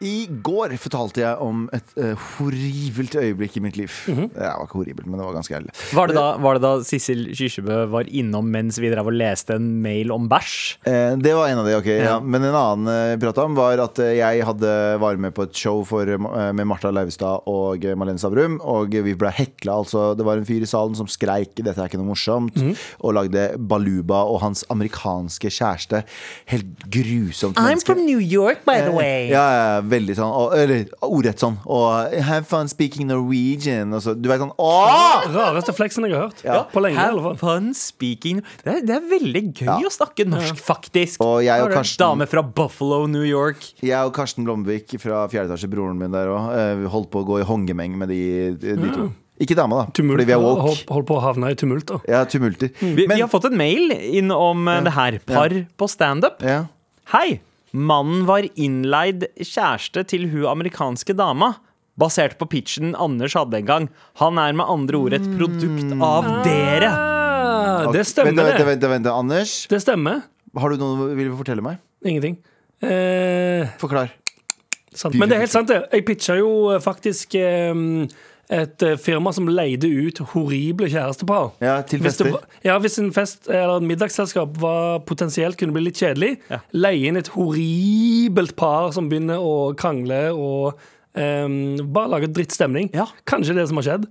I går fortalte jeg om et eh, horribelt øyeblikk i mitt liv. Det var ikke horribelt, men det var ganske ærlig. Var det, da, var det da Sissel Kyrkjebø var innom mens vi drev og leste en mail om bæsj? Eh, det var en av de, ok. Ja. Men en annen eh, jeg prata om, var at eh, jeg hadde var med på et show for, eh, med Martha Leivestad og eh, Malene Stavrum. Og vi ble hekla, altså. Det var en fyr i salen som skreik 'dette er ikke noe morsomt', og lagde Baluba og hans amerikanske kjæreste. Helt grusomt menneske. New York, by the Ja, ja, veldig sånn og, Eller ordrett sånn. Og have fun speaking Norwegian. Og så, du vet sånn Åh! Rareste fleksen jeg har hørt. På lenge, i alle fall. fun speaking det er, det er veldig gøy Ja. å snakke norsk, faktisk. Og jeg og Har du en Karsten- Dame fra Buffalo, New York. Jeg og Karsten Blomvik fra fjerde etasje, broren min der òg, holdt på å gå i hongemeng med de, de to. Ikke dama, da, Mm. Tumult. Mm. fordi vi er Hold, woke. hold på å havne i tumult. da. Ja, tumulter. Vi, Men- vi har fått en mail inn om eh, det her. Par på standup. Ja. Hei! Mannen var innleid kjæreste til hun amerikanske dama. Basert på pitchen Anders hadde en gang. Han er med andre ord et produkt av dere. Ah, det stemmer, Vent, vent, det. vent, vent, Anders, Det stemmer. har du noe du vil fortelle meg? Ingenting. Eh, Forklar. sant. Men det er helt sant, det. Jeg pitcha jo eh, faktisk eh, et eh, firma som leide ut horrible kjærestepar. Ja, til Hvis det fester. var- Ja, hvis en fest eller et middagsselskap var potensielt kunne bli litt kjedelig, leie inn et horribelt par som begynner å krangle og em, bare lage drittstemning. Ja. Kanskje det som har skjedd.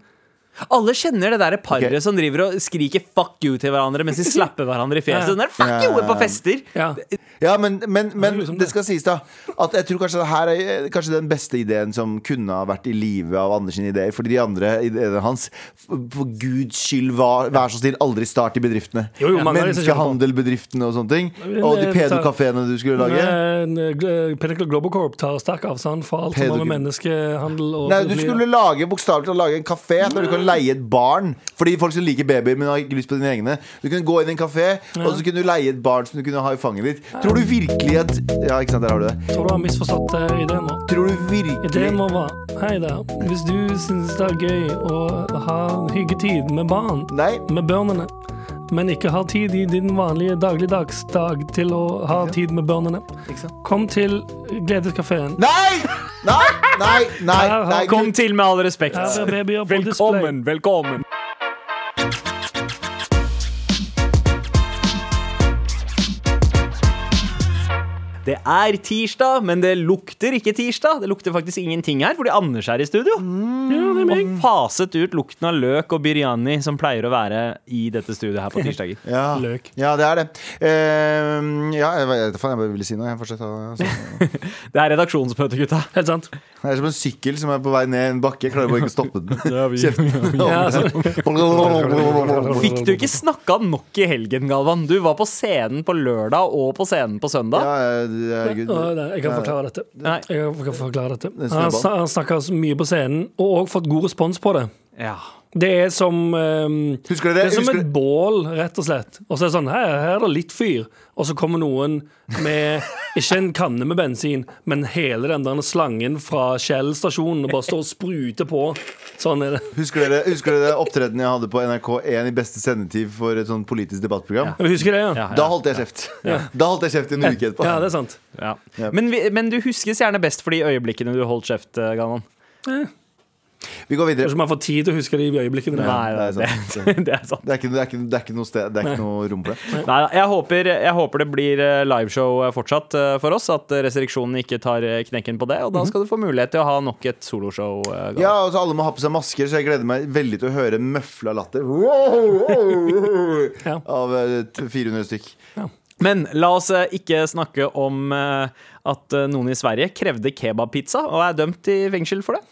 Alle kjenner det der paret Ok. som driver og skriker 'fuck you' til hverandre mens de slapper hverandre i fjeset. Ja. Den der 'fuck Ja. you' på fester. Ja. Ja, men, men, men Det er liksom det det. skal sies, da. At jeg tror kanskje det her er eh, kanskje den beste ideen som kunne ha vært i live av Anders sine ideer. Fordi de andre ideene hans f- For guds skyld, vær, vær så snill, aldri start i bedriftene. Jo, jo, mange av de som kjører på. Menneskehandelbedriftene og sånne ting. men, Og de eh, ta- pedokafeene du skulle lage. Men, eh, Gl- Pinnacle Global Corp tar sterk avstand fra alt som har med menneskehandel og Nei, du pedofili- skulle lage bokstavelig talt lage en kafé der du kan leie et barn. Fordi folk som liker babyer, men har ikke lyst på dine egne. Du kunne gå inn i en kafé, og så kunne du leie et barn som du kunne ha i fanget ditt. Tror du virkelig at Ja, ikke sant, der har du det. Tror du har misforstått eh, ideen nå? Tror du Ideen virkelig må være Hei der. Hvis du syns det er gøy å ha hyggetid med barn, Nei. med børnene, men ikke har tid i din vanlige dagligdagsdag til å ha tid med børnene, kom til Gledeskafeen. Nei! Nei! Nei! Nei! nei. Kom til, med all respekt. Her er babyer på display. Velkommen, velkommen. Det er tirsdag, men det lukter ikke tirsdag. Det lukter faktisk ingenting her, fordi Anders er i studio. og faset ut lukten av løk og biryani som pleier å være i dette studioet her på tirsdager. Ja. Løk. ja, det er det. Eh, ja, jeg vet faen, jeg bare ville si noe. Jeg fortsetter. altså. Det er redaksjonsmøte, gutta. Helt sant. Det er som en sykkel som er på vei ned en bakke. Jeg klarer bare ikke å stoppe den. Kjeften. Ja, Fikk du ikke snakka nok i helgen, Galvan? Du var på scenen på lørdag og på scenen på søndag. Ja, herregud. Å, nei, Jeg kan forklare dette. Nei. Jeg kan forklare dette. er snøball. Han, sna- han snakker så mye på scenen, og også fått god respons på det. Ja. Det er som ehm, Husker Det dere er som husker- et bål, rett og slett. Og så er det sånn, her, her er det litt fyr. Og så kommer noen med ikke en kanne med bensin, men hele den der slangen fra Shell stasjonen og bare står og spruter på. Sånn er det. Husker dere, husker dere opptredenen jeg hadde på NRK1 i beste sendetid for et sånn politisk debattprogram? Jeg husker det, ja. Ja, ja. Da holdt jeg kjeft. Da holdt jeg kjeft i en uke etterpå. Ja, det er sant. Ja. Men, vi, men du huskes gjerne best for de øyeblikkene du holdt kjeft, eh, Galvan. Vi går videre. Kanskje man får tid til å huske det i øyeblikkene. Nei, det er det, sant. det, er sant. Det er ikke, det er ikke, det er ikke noe sted Det er ikke noe rom for det. Nei, jeg, håper, jeg håper det blir eh, liveshow eh, fortsatt eh, for oss. At eh, restriksjonene ikke tar eh, knekken på det. Og da skal du få mulighet til å ha nok et soloshow. eh, Galvan. Mhm. Ja, altså Alle må ha på seg masker, så jeg gleder meg veldig til å høre møfla latter Wow! av eh, 400 stykk. Men la oss eh, ikke snakke om eh, at eh, noen i Sverige krevde kebabpizza og er dømt i fengsel for det.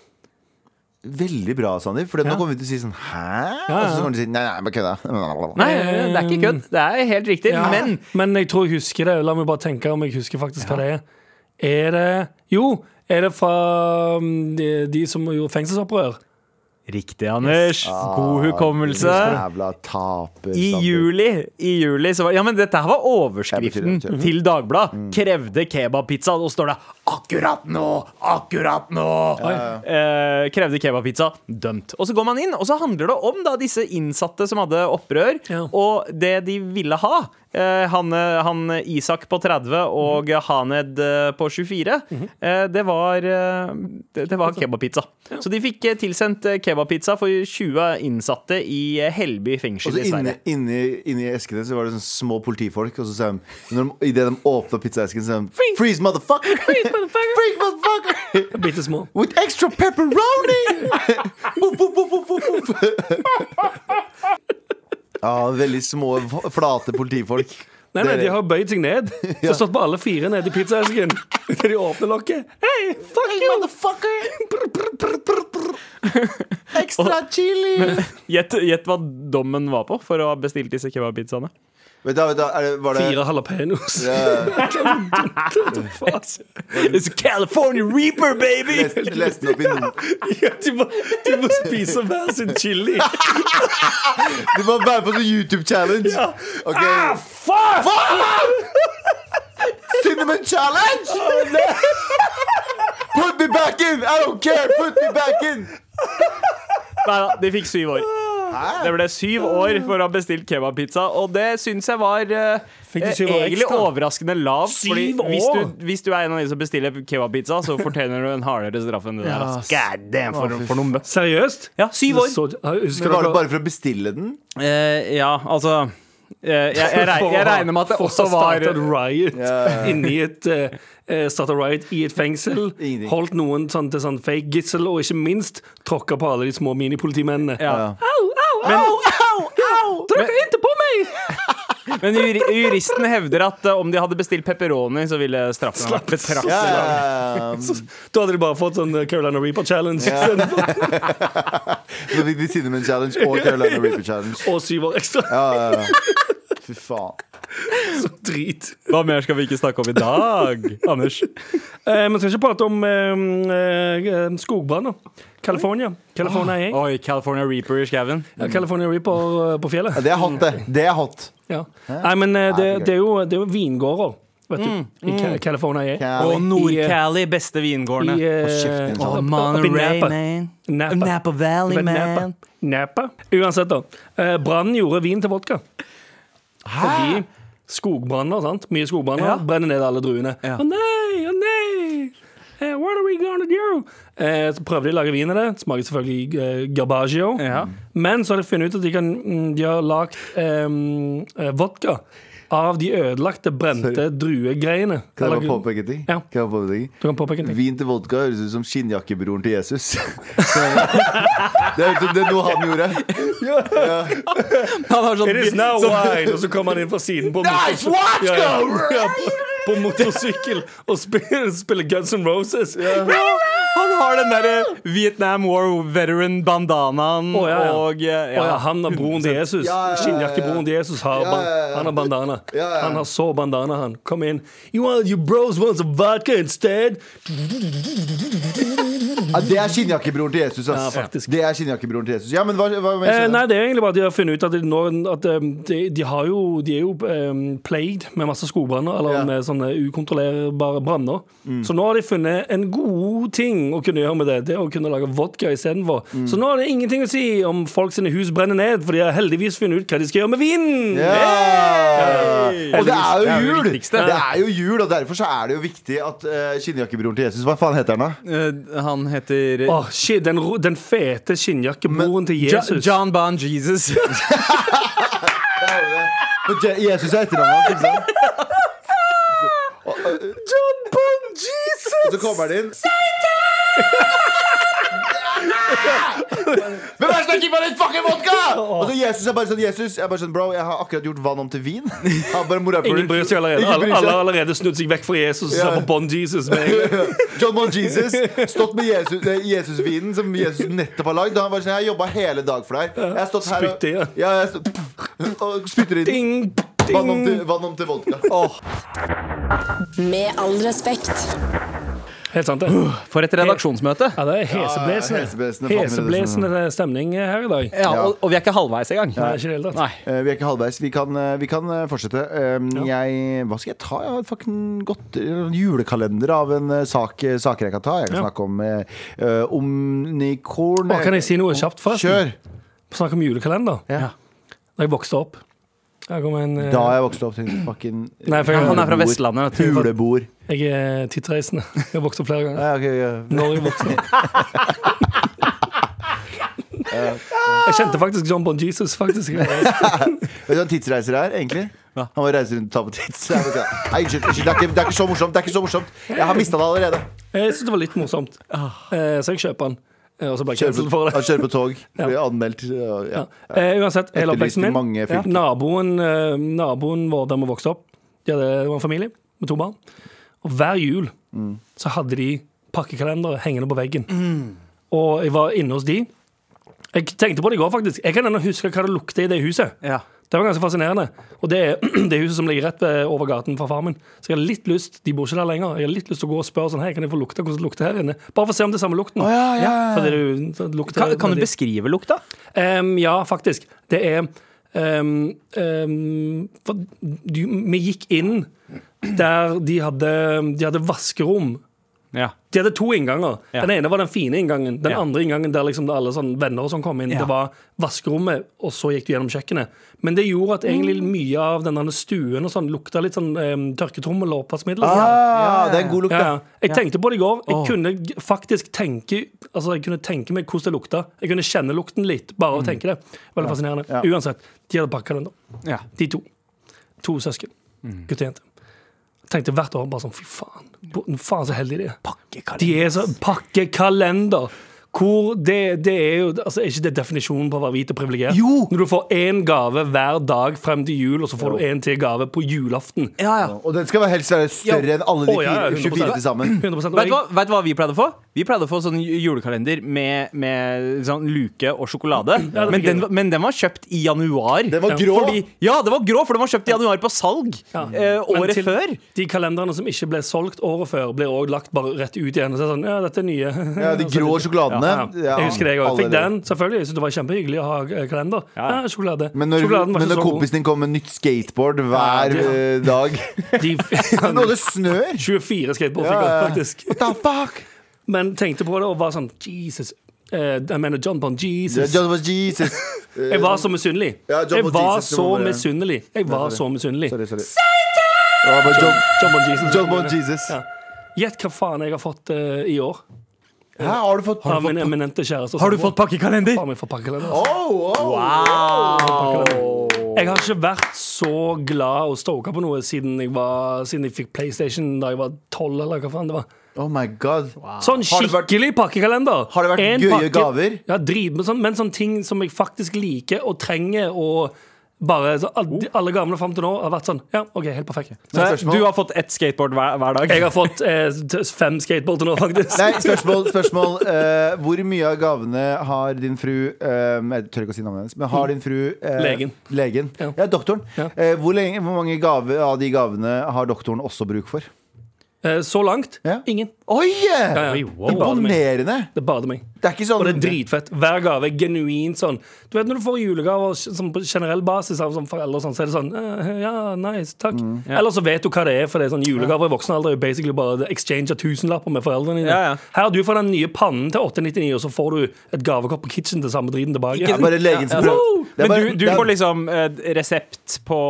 Veldig bra, Sandeep. For nå kommer vi til å si sånn Hæ? ja. Og så kommer de til å si nei, nei, bare kødda. Nei, det er ikke kødd. Det er helt riktig. Ja. Men Men jeg tror jeg husker det. La meg bare tenke om jeg husker faktisk hva det er. Er det Jo, er det fra mm, de, de som gjorde fengselsopprør? Riktig, Anders. Ah, God hukommelse. Ah, Jævla taper. I Sandeep. juli, i juli så var, Ja, men dette her Jeg var betyr det, overskriften jeg betyr det. til Dagbladet. Krevde kebabpizza. Og står det Akkurat nå! Akkurat nå! Eh, krevde kebabpizza. Dømt. Og så går man inn, og så handler det om da disse innsatte som hadde opprør, Ja. og det de ville ha. Eh, han, eh, han Isak på 30 og Haned eh, på 24. eh, det var, eh, det, det var kebabpizza. Så de fikk eh, tilsendt eh, kebabpizza for 20 innsatte i eh, Hellby Og fengsel så i inni, Sverige. inni, inni eskene så var det sånn små politifolk, og så sa de Idet de åpna pizzaesken, så sa de Freeze, motherfucker! Freeze, motherfucker! Freeze, motherfucker! Bitte små. With extra pepperoni! Voff, voff, voff, voff, voff, voff. Ja, veldig små, f- flate politifolk. Nei, nei, Det- de har bøyd seg ned. De har stått på alle fire nede i pizzaesken. Når de åpner lokket. Hei, fuck you! Brr, brr, brr, brr, brr. Ekstra chili! Gjett gjett hva dommen var på for å ha bestilt disse kebabpizzaene. Vet du, hva, vet du, hva, er det, var det Fire jalapeños. Ja, It's a California Reaper, baby! lest, lest den opp i nord. Ja, de, må, de må spise hver sin chili. Du må være på sånn YouTube-challenge. Ja. Ok, Ah, fuck! Cinnamon challenge! Put me back in! I don't care! Put me back in! Neida, de fikk syv år. Det ble syv år for å ha bestilt kebabpizza, og det syns jeg var eh, Fikk du syv år egentlig ekstra? overraskende lavt. fordi Syv hvis år? du, hvis du er en av de som bestiller kebabpizza, så fortjener du en hardere straff enn det der. ass. God damn, for, for noen bøss. Seriøst? Ja, syv år. Så, husker Var det dere bare for å bestille den? Eh, ja, altså eh, jeg, jeg, reg- jeg regner med at det For å også ha var startet riot Ja. inni et eh, eh, startet riot i et fengsel. Ingenting. Holdt noen sånn, til sånn fake gissel, og ikke minst tråkka på alle de små minipolitimennene. ja. Au, au, au! Dere er ikke på meg! Men juri, juristen hevder at eh, om de hadde bestilt pepperoni, så ville straffen ha vært betraktelig. Ja, lav. ja, ja. Da hadde de bare fått sånn eh, Carolina Reaper Challenge istedenfor. Så fikk de Cinnamon Challenge og Carolina Reaper Challenge. Og syv år ekstra. Ja, ja, ja. Fy faen. Drit. Hva mer skal vi ikke snakke om i dag, Anders? Eh, men skal ikke prate om eh, eh, skogbranner. California. California, oh. Oi, California Reaper i skauen. ja, California Reaper eh, på fjellet. Ja, det er hot, det. Det er hot. Ja. Nei, men eh, det, Herregud. det, er jo, det er jo vingårder, vet du. Mm. I Ca- California. I, Cali. Og Nord-Cali, beste i, vingårdene. eh, kjeft, din opp- sånn. opp i Napa. Napa. Napa. Napa Valley, Vet du, Napa. man. Napa. Uansett, da. Eh, Brann gjorde vin til vodka. Fordi skogbranner, sant. Mye skogbranner. Ja. Brenner ned alle druene. Å Ja. nei, å nei! Eh, what are we gonna do? Eh, så prøvde de å lage vin av det. Smaker selvfølgelig eh, garbaggio. Ja. Men så har de funnet ut at de, kan, mm, de har lagd em, eh, vodka av de ødelagte, brente druegreiene. Kan jeg Eller- bare påpeke en ting? Ja. Kan jeg bare påpeke en ting? Du kan påpeke en ting. Vin til vodka høres ut som skinnjakkebroren til Jesus. Det er ut som det er noe han gjorde. Han har sånn It is now wine! Og så kommer han inn fra siden på, Nice, let's Ja, ja. go! Ja, på motorsykkel og spiller, spiller Guns N' Roses. Han har den derre Vietnam War veteran bandanaen Å, ja, ja. og eh, Å ja. ja, han har broren til Jesus. Ja, ja, ja, ja. Skinnjakkebroren til Jesus har, Ja, ja, ja. ban- han har bandana. Ja, ja. Han har så bandana, han. Kom inn. You want your bros want some vodka instead? Ja, det er skinnjakkebroren til Jesus, ass. Ja, faktisk. det er skinnjakkebroren til Jesus. Ja, men hva, hva mer Eh, skjer? nei, det er egentlig bare at de har funnet ut at de, nå, at um, de, de, har jo, de er jo um, plagued med masse skogbranner, eller Ja. Mm. med sånne ukontrollerbare branner. Så nå har de funnet en god ting å kunne gjøre med det. Det er å kunne lage vodka istedenfor. Mm. Så nå har det ingenting å si om folk sine hus brenner ned, for de har heldigvis funnet ut hva de skal gjøre med vinen! Ja! Og det er Det er jo jo det jul! viktigste. Det er jo jul, og derfor så er det jo viktig at eh, skinnjakkebroren til Jesus Hva faen heter han, da? Eh, Han heter Åh, shit, den, ro- den fete skinnjakkeboren til Jo- Jesus. John Bon Jesus. For Je- Jesus er etternavnet hans, ikke sant? John Bon Jesus! Og så kommer han inn. Hvem er det som har kippa litt fucking vodka?! Og så Jesus er bare sånn Jesus, jeg er bare sånn, bro, jeg har akkurat gjort vann om til vin. Han bare, "Mora, Ingen bryr seg allerede. Ingen bryr Alle seg. alle har allerede snudd seg vekk fra Jesus og Ja. sa på Bon Jesus. med en gang. John Bon Jesus stått med Jesus- eh, Jesusvinen som Jesus nettopp har lagd. Han var sånn, jeg har jobba hele dag for deg. Jeg har stått her og, Spytte i det. ja, jeg har stått- og spytter i den. Ding, Vann om ding. til, vann om til vodka. Med all respekt. Helt sant, det. For et redaksjonsmøte. Ja, det er Ja, heseblesende heseblesende fatter vi det Heseblesende stemning her i dag. Ja, og, og vi er ikke halvveis engang. Nei, ikke i det hele tatt. Nei. Eh, vi er ikke halvveis. Vi kan, eh, vi kan eh, fortsette. Um, jeg, hva skal jeg ta? Jeg har fucking godt en julekalender av en eh, sak, eh, saker jeg kan ta. Jeg kan Ja. snakke om eh, eh, Omnikorn. eh, Å, kan jeg si noe kjapt, forresten? Kjør! Snakk om julekalender. Ja. Da jeg vokste opp Jeg, kom en, eh, Da jeg vokste opp, tenkte jeg fucking Nei, for jeg, Han er fra Vestlandet. vet du. Hulebord. eh, jeg er tidsreisende. Jeg har vokst opp flere ganger. Ja, ok, ja. Når jeg vokste opp. Jeg kjente faktisk John Bon Jesus, faktisk. Jeg Vet du hva en tidsreiser er, egentlig? Hva? Han bare reiser rundt og tar på tids. Jeg vet ikke. Nei, unnskyld, unnskyld det, er ikke, det er ikke så morsomt. Det er ikke så morsomt Jeg har mista det allerede. syns det var litt morsomt, Ah, Eh, så jeg kjøper den. Eh, Og så ble jeg Kjører på, cancelled for det. han kjører på tog. Ja. Blir anmeldt. Ja. Ja. Ja. Eh, uansett, hele Etterlyst i oppveksten min mange ja. fylker. naboen, eh, naboen vår der vi vokste opp, de hadde, det var en familie med to barn. Og hver jul så hadde de pakkekalendere hengende på veggen. Og jeg var inne hos de. Jeg tenkte på det i går, faktisk. Jeg kan ennå huske hva det lukter i det huset. Ja. Det var ganske fascinerende. Og det er det huset som ligger rett ved- over gaten fra far min. Så jeg har litt lyst de bor ikke der lenger, jeg har litt lyst til å gå og spørre sånn, hei, kan jeg få lukte hvordan det lukter her inne. Bare for å se om det er samme lukten. ja, ja, ja. Fordi det, jo- det lukter, Kan, kan du veldig- beskrive lukta? Em, ja, faktisk. Det er em, em, for, du, Vi gikk inn der de hadde, de hadde vaskerom. Ja. De hadde to innganger. Ja. Den ene var den fine inngangen. Den Ja. andre inngangen der liksom alle sånn venner og sånn kom inn. Ja. Det var vaskerommet, og så gikk du gjennom kjøkkenet. Men det gjorde at egentlig Mm. mye av den der stuen og sånn lukta litt sånn em, tørketrommel og oppvaskmiddel. og sånn. Ah, det er en god lukt, Ja, da. ja. Jeg tenkte på det i går. Jeg kunne g- faktisk tenke Altså jeg kunne tenke meg hvordan det lukta. Jeg kunne kjenne lukten litt bare av å tenke det. Veldig fascinerende. Mm. Ja. Uansett, de hadde pakkekalender. Ja. De to. To søsken. Mm. Gutt og jente. Jeg Tenkte hvert år bare sånn fy faen. bo- Faen så heldige de er. De er så pakkekalender. Hvor det, det er jo altså, Er ikke det definisjonen på å være hvit og privilegert? Jo! Når du får én gave hver dag frem til jul, og så får du én til gave på julaften. Ja, ja. Og den skal være helst være større enn alle de Å, ja, ja, fire, 24 100%. til sammen. 100 og Vet du, jeg- hva, vet du hva vi pleide å få? Vi pleide å få sånn ju- julekalender med, med sånn luke og sjokolade. det men, fikk jeg den, også. men den var kjøpt i januar. Den var Ja, grå! Fordi, ja, den var grå, for den var kjøpt i januar på salg Ja. eh, Mm. Men året til- før. De kalenderne som ikke ble solgt året før, blir også lagt bare rett ut igjen. Og så er det sånn, ja, dette er nye. Ja, de grå sjokoladene. Ja, jeg husker det, jeg også. alle det. Fikk den, selvfølgelig. Så det var kjempehyggelig å ha eh, kalender. Ja, Ja. sjokolade. Men når, Sjokoladen var men ikke når så god. kompisen din kommer med nytt skateboard hver Ja, eh, dag De, Nå er det snør! 24 skateboard fikk jeg, Ja, faktisk. What the fuck? Men tenkte på det og var sånn, Jesus. Eh, jeg mener John Bon Jesus. Just was Jesus. Jeg var så misunnelig. Ja, John Jeg Bon var Jesus, det så må være- misunnelig. Jeg var så misunnelig. Eh, Sorry, sorry. Det var bare John, John Bon Jesus. John Bon Jesus. Ja. Gjett hva faen jeg har fått eh, i år Hæ, har du fått av min eminente kjæreste. Har du fått pakkekalender? Faen, jeg får pakkekalender. Oh, oh. Jeg har ikke vært så glad og stoka på noe siden jeg, var, siden jeg fikk PlayStation da jeg var tolv, eller hva faen det var. oh my god. Sånn Har det vært- skikkelig pakkekalender. Har det vært En gøye gaver? Ja, drit med sånn, men sånn ting som jeg faktisk liker og trenger og bare så, al- de- Alle gavene fram til nå har vært sånn. Ja, OK, helt perfekt. Så Oh. Men jeg- spørsmål? Du har fått ett skateboard hver, hver dag. Jeg har fått eh, t- fem skateboard til nå, faktisk. Nei, spørsmål. spørsmål Eh, hvor mye av gavene har din fru eh, Jeg tør ikke å si navnet hennes, men har din fru eh, Legen. legen. Ja. Ja. doktoren. Ja. Eh, hvor, lenge, hvor mange gave av de gavene har doktoren også bruk for? Eh, så langt Ja. ingen. Oi! Ja, ja. Oi, wow. Det er bare meg. Imponerende! Det er bare meg. Det er ikke sånn Og det er dritfett. Hver gave er genuint sånn. Du vet når du får julegaver sånn, på generell basis av sånn, foreldre, og sånn, så er det sånn eh, Ja, nice, takk. Eller så vet du hva det er, for det er sånn julegaver i voksen alder er jo basically bare det exchange av tusenlapper med foreldrene dine. Ja, ja. Her, du får den nye pannen til 899, og så får du et gavekort på kitchen til samme driten tilbake. Det er bare legen som Ja, ja. prøver. Det Men er bare- du, du det er- får liksom eh, resept på,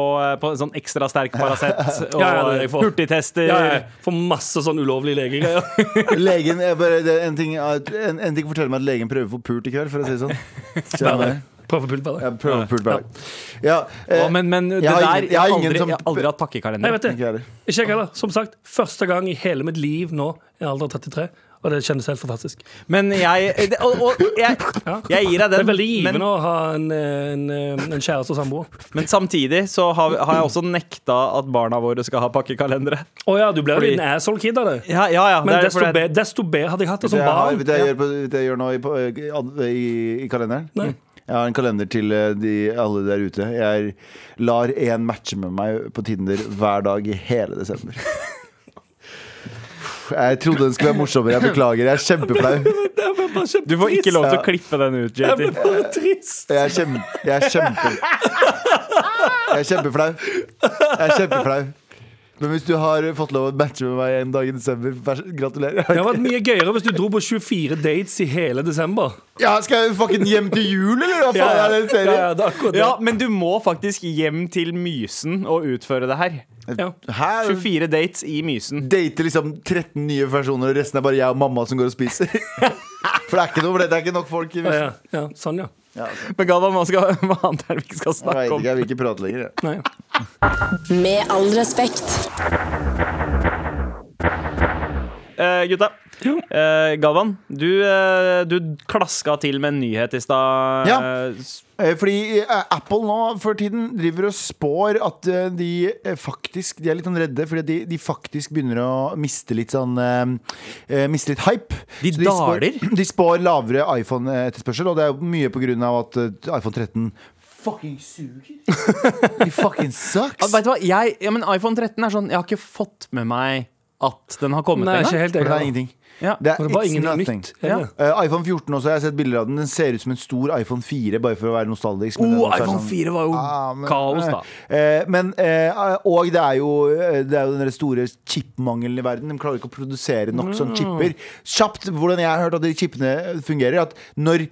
på sånn ekstra sterk Paracet og Ja, ja, det er det jeg får. hurtigtester. ja, ja, får masse sånn ulovlige legegreier. Legen, jeg bare, det er en, ting, en, en ting forteller meg at legen prøver for pult i kveld, for å si det sånn. Skjønner du? Prøv å pulle på det. Jeg prøver pult hver dag. Ja, eh, Å, men men det jeg har der ingen- Jeg har aldri, som- jeg har aldri hatt Nei, pakkekalender. vet du, Ikke heller. ikke jeg heller. Som sagt, første gang i hele mitt liv nå, i alder 33, og det kjennes helt fantastisk. Men jeg det- Og, og jeg, Ja. jeg gir deg Det den. er veldig givende men- å ha en, en, en kjæreste og samboer. Men samtidig så har, har jeg også nekta at barna våre skal ha pakkekalendere. Å ja, du ble Fordi- en asshole-kid av det. Ja, ja, ja, Men det er desto, fordi- be, desto bedre hadde jeg hatt det som jeg har- barn. Vet du hva jeg, gjør på- vet du hva jeg gjør nå i, på- i, i kalenderen? Nei. Jeg har en kalender til eh, de, alle der ute. Jeg lar én matche med meg på Tinder hver dag i hele desember. Jeg trodde den skulle være morsommere. Jeg beklager. Jeg er kjempeflau. Det var bare kjempe- Du får ikke lov til å klippe den ut, Jeg ble JT. bare trist. Jeg er, kjem, jeg er kjempe... Jeg er kjempeflau. Jeg er kjempeflau. Men hvis du har fått lov å matche med meg en dag i desember, vær så- Det gratulerer. hadde vært mye gøyere hvis du dro på 24 dates i hele desember. Ja, skal jeg fucking hjem til jul, eller hva faen er det en ja, serie? ja, det er akkurat det. Ja, men du må faktisk hjem til Mysen og utføre det her. Ja. Her 24 dates i Mysen. dater liksom 13 nye personer, og resten er bare jeg og mamma som går og spiser. For det er ikke noe, det er ikke nok folk. i Ja, Vest- ja, ja, sånn, ja. Ja, ok. Men Galvan, hva, skal, hva annet er det vi ikke skal Jeg snakke vet om? ikke, jeg vil ikke prate lenger. jeg. Nei. Med all respekt. Eh, gutta. Jo. Eh, Galvan, du, eh, du klaska til med en nyhet i stad. Ja. Eh, s- Eh, Fordi eh, Apple nå for tiden driver og spår at eh, de eh, faktisk De er litt sånn redde fordi de, de faktisk begynner å miste litt sånn eh, eh, Miste litt hype. De Så daler? Spår, de spår lavere iPhone-etterspørsel, og det er jo mye på grunn av at eh, iPhone 13 fucking suger. De fucking Ja, sucks. vet du hva? Jeg, ja, men iPhone 13 er sånn Jeg har ikke fått med meg at den har kommet Nei, ikke engang. helt For det er enig. ingenting. Ja. Det er, Men det var it's ingenting nothing. nytt. er Ja. det? Eh, iPhone 14 også, jeg har sett bilder av den. Den ser ut som en stor iPhone 4, bare for å være nostalgisk. men den Oh, også er iPhone sånn- 4 var jo Ah, men- kaos, da. Eh, men, eh, og det er jo, eh, det er jo den der store chipmangelen i verden. De klarer ikke å produsere nok sånne chipper. Kjapt, hvordan jeg har hørt at de chipene fungerer, at når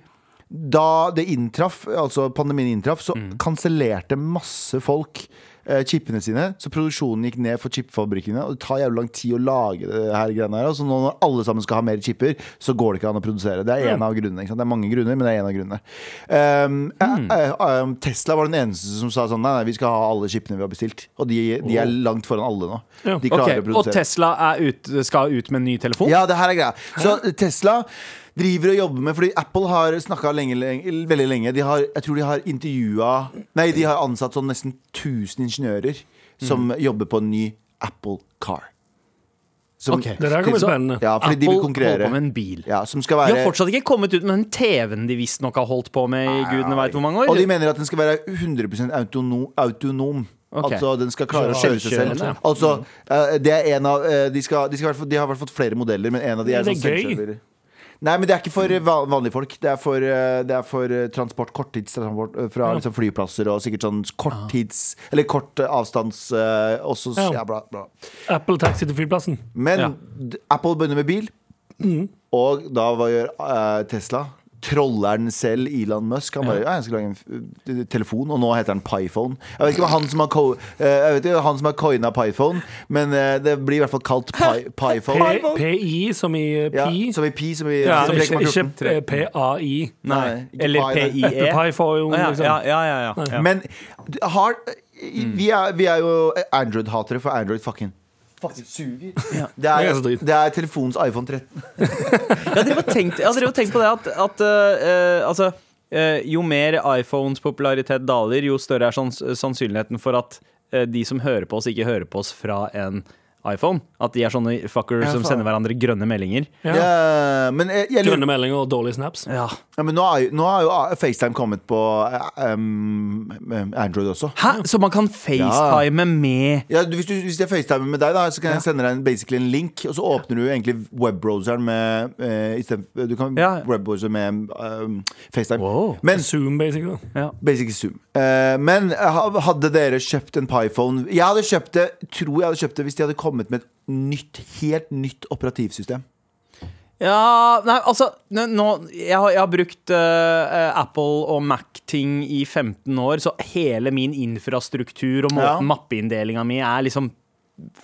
da det inntraff, altså pandemien inntraff, så kansellerte masse folk eh, chipene sine. Så produksjonen gikk ned for chipfabrikkene. Og det tar jævlig lang tid å lage det her greiene her. og Så nå når alle sammen skal ha mer chipper, så går det ikke an å produsere. Det er Mm. en av grunnene. Ikke sant? Det er mange grunner, men det er en av grunnene. Um, Mm. eh, eh, um, Tesla var den eneste som sa sånn nei, nei, vi skal ha alle chipene vi har bestilt. Og de, de er langt foran alle nå. Ja. De klarer Oh. Ok, å Og produsere. Tesla er ut, skal ut med en ny telefon? Ja, det her er greia. Så Tesla driver og jobber med Fordi Apple har snakka lenge, lenge, veldig lenge. De har, jeg tror de har intervjua Nei, de har ansatt sånn nesten 1000 ingeniører som Mm. jobber på en ny Apple Car. Som- Ok. Det der kommer Så- spennende. Ja, fordi de vil holder på med konkurrere. en bil. Ja, som skal De har være fortsatt ikke kommet ut med den TV-en de visstnok har holdt på med i gudene veit hvor mange år. Og de mener at den skal være 100 autonom. autonom. Ok. Altså den skal klare å Kjøre- kjøre seg selv. selvkjørende. Altså, eh, det er en av eh, De, skal, de, skal, i hvert fall- de har i hvert fall fått flere modeller, men en av de er, Men sånn det er gøy. selvkjører. Nei, men det er ikke for eh, van- vanlige folk. Det er for, eh, det er for eh, transport, korttidstransport eh, fra liksom, flyplasser og sikkert sånn korttids Eller kort eh, avstands eh, også, Ja. ja, bla, bla. Apple taxi til flyplassen. Men Ja. d- Apple begynner med bil, og da hva gjør eh, Tesla? Trolleren selv, Elon Musk, han bare ja. jeg skal lage en f- eh, telefon, og nå heter den Pyphone. Jeg vet ikke om han som har, co eh, jeg vet ikke, om han som har coina Pyphone, men eh, det blir i hvert fall kalt Py- Pyphone. P- PI som i eh, Ja, pi. som i pi, som i Ja, som Ikke- i 3,14. Ikke ikke, eh, PAI. Nei, ikke Eller Pi, nei. PIE. Eplepai får jo Å, ja, liksom. ja, ja, ja, ja. ja. Men d- har, vi, er, vi er jo Android-hatere, for Android fucking Fucking suger. Det, Det er er, så dritt. det er telefonens iPhone 13. Jeg har drevet og tenkt, jeg har drevet og tenkt på det at, at eh, eh, altså, eh, jo mer iPhones popularitet daler, jo større er sans sannsynligheten for at eh, de som hører på oss, ikke hører på oss fra en iPhone. At de er sånne fuckers Ja, som faen. sender hverandre grønne meldinger. Ja. Ja, men eh, jeg, jeg lurer Grønne meldinger og dårlige snaps. Ja. Ja, men nå, er, jo- nå har jo FaceTime kommet på eh, um, Android også. Hæ? Så man kan facetime med Ja, du, hvis, du, hvis jeg facetimer med deg, da, så kan jeg sende deg en, basically en link. Og så åpner du egentlig webbrowseren med eh, i stedet- Du kan Ja. webbrowser med um, FaceTime. Wow. Men Zoom, basically. da. Basically Zoom. Eh, men ha- hadde dere kjøpt en Pyphone Jeg hadde kjøpt det, tror jeg hadde kjøpt det hvis de hadde kommet med et nytt, helt nytt operativsystem. Ja, nei, altså n- nå, jeg, har, jeg har brukt eh, Apple og Mac-ting i 15 år, så hele min infrastruktur og må- Ja. mappeindelinga mi er liksom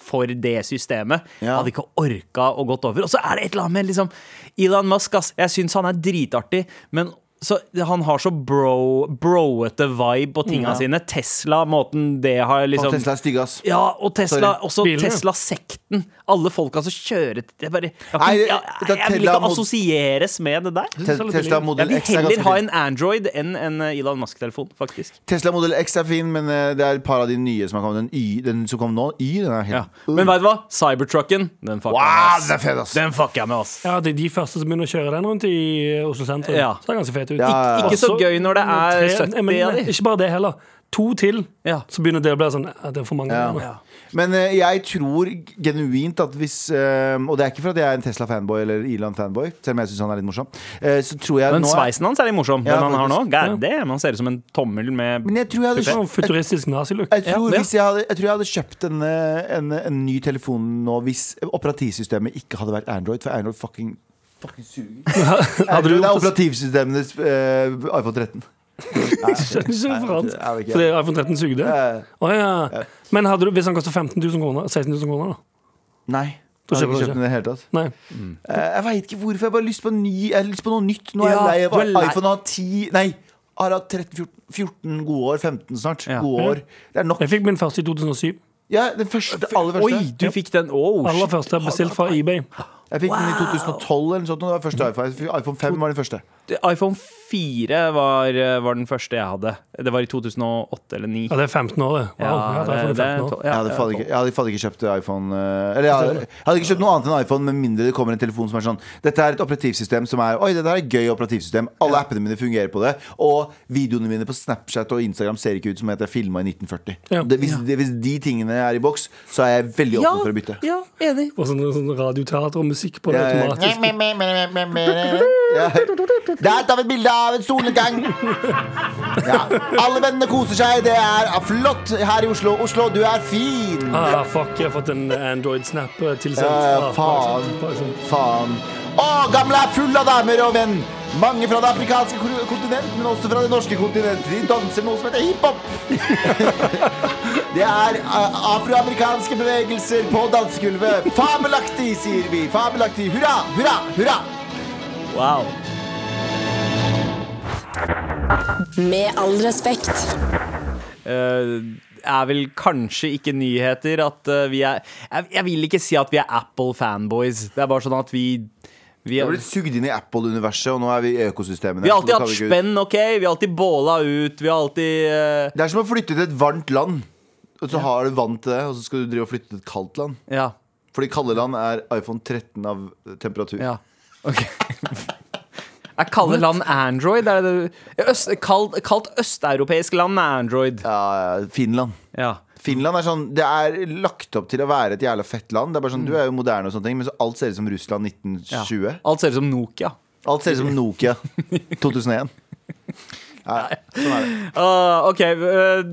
for det systemet. Ja. Hadde ikke orka å gått over. Og så er det et eller annet med liksom Elon Musk, ass. Jeg syns han er dritartig, men så, han har så bro, broete vibe på tinga sine. Tesla, måten det har Faen, liksom Tesla er stygge, ass. ja, og Tesla, Sorry. også Bilene. Tesla-sekten. Alle folka som kjører til- jeg, bare, jeg, har Nei, ikke- det- jeg, jeg, det er vil ikke Tesla mod- assosieres med det der. Te- Tesla Jeg Model vil X er heller ganske ha fin. en Android enn en eh, Elon Musk-telefon, faktisk. Tesla Model X er fin, men eh, det er et par av de nye som har kommet. Den, y, den som kom nå, Y, den er helt Ja. Men veit du hva? Cybertrucken, den fucker Uh. Wow, jeg med. den er fet, ass! Ass. Den fucker jeg med, ass. Ja, det er de første som begynner å kjøre den rundt i Oslo sentrum. Ja. Så det er ganske fet ut. Ja, ja, ja. Ikke så Også- gøy når det er Tre- 70 men av de. Ikke bare det heller. to til, Ja. så begynner det å bli sånn «Ja, Det er for mange. Ja. nå». Men eh, jeg tror genuint at hvis eh, Og det er ikke for at jeg er en Tesla-fanboy eller Elon-fanboy, selv om jeg syns han er litt morsom. eh, så tror jeg Men nå sveisen hans er litt morsom. Ja, den han har nå. faktisk. God damn, han ser ut som en tommel med Men jeg tror jeg hadde Det er kjøpt, jo sånn Futuristisk nazilook. jeg tror, Ja. hvis jeg, hadde, jeg tror jeg hadde kjøpt en, eh, en, en ny telefon nå hvis operativsystemet ikke hadde vært Android, for Android fucking Fucking suger. Hadde Android er du gjort det? operativsksystemenes eh, iPhone 13. Skjønner ikke referansen. Jeg vet ikke. Fordi iPhone 13 suger det? Eh, Å, ja. Men hadde du, hvis han koster 15 000 kroner, 16 000 kroner, da? Nei. Da Jeg hadde kjøper ikke du kjøpt den i det hele tatt. Nei. Eh, Jeg veit ikke hvorfor. Jeg har bare lyst på, en ny, jeg har lyst på noe nytt. Nå er Ja, jeg lei av du er lei. iPhone har 10 Nei, har hatt 13, 14, 14 gode år. 15 snart. Ja. Gode år. Det er nok. Jeg fikk min første i 2007. Ja, den første, det aller Oi, første. du fikk den. Oh, Aller shit. første jeg bestilt fra eBay. Jeg fikk den i 2012 eller noe sånt. og Det var første iPhone. iPhone 5 var den første. iPhone 4 var, eh, var den første jeg hadde. Det var i 2008 eller 2009. Ja, det er 15 år, det. Wow, ja, det, er det- det er 15 år. to- Jeg ja, hadde ja, faen tolv. ikke, jeg hadde faen ikke kjøpt iPhone eh, Eller jeg hadde, jeg hadde ikke kjøpt noe annet enn iPhone med mindre det kommer en telefon som er sånn Dette er et operativsystem som er Oi, dette er et gøy operativsystem. Alle appene mine fungerer på det. Og videoene mine på Snapchat og Instagram ser ikke ut som at jeg filma i 1940. Ja. Det, hvis, det, hvis de tingene er i boks, så er jeg veldig åpen for å bytte. Ja, enig. Og sånn, sånn radioteater og musikk på det Ja, ja. automatisk. Ja. Der tar vi et bilde av en solnedgang. Ja. Alle vennene koser seg. Det er flott her i Oslo. Oslo, du er fin. Ah, fuck, jeg har fått en Android-snap eh, tilsendt. Ja, ja, Ah, faen. bare sånn, bare sånn. Faen. Å, gamle er full av damer og menn. Mange fra det afrikanske ko- kontinent, men også fra det norske kontinent. De danser noe som heter hiphop. Det er eh, afroamerikanske bevegelser på dansegulvet. Fabelaktig, sier vi. Fabelaktig. Hurra, hurra, hurra. Wow. Med all respekt. Eh, er vel kanskje ikke nyheter at eh, vi er jeg, jeg vil ikke si at vi er Apple-fanboys. Det er bare sånn at vi vi, Vi har blitt sugd inn i Apple-universet, og nå er vi i økosystemene. vi har så det alltid kan hatt vi ikke- spenn, OK? Vi har alltid båla ut. Vi har alltid eh, Det er som å flytte til et varmt land. Og så har du vann til det, og så skal du drive og flytte til et kaldt land. Ja. Fordi kalde land er iPhone 13 av eh, temperatur. ja. OK. Er kalde land Android? Er det det? Øst, kald, kaldt østeuropeisk land er Android. Ja, ja, Finland. Ja. Finland er sånn, Det er lagt opp til å være et jævla fett land. Det er bare sånn, Du er jo moderne, og sånne ting men så alt ser ut som Russland ja. 1920. Alt ser ut som Nokia. Alt ser ut som Nokia 2001. Ja, sånn er det. Ah, OK. eh,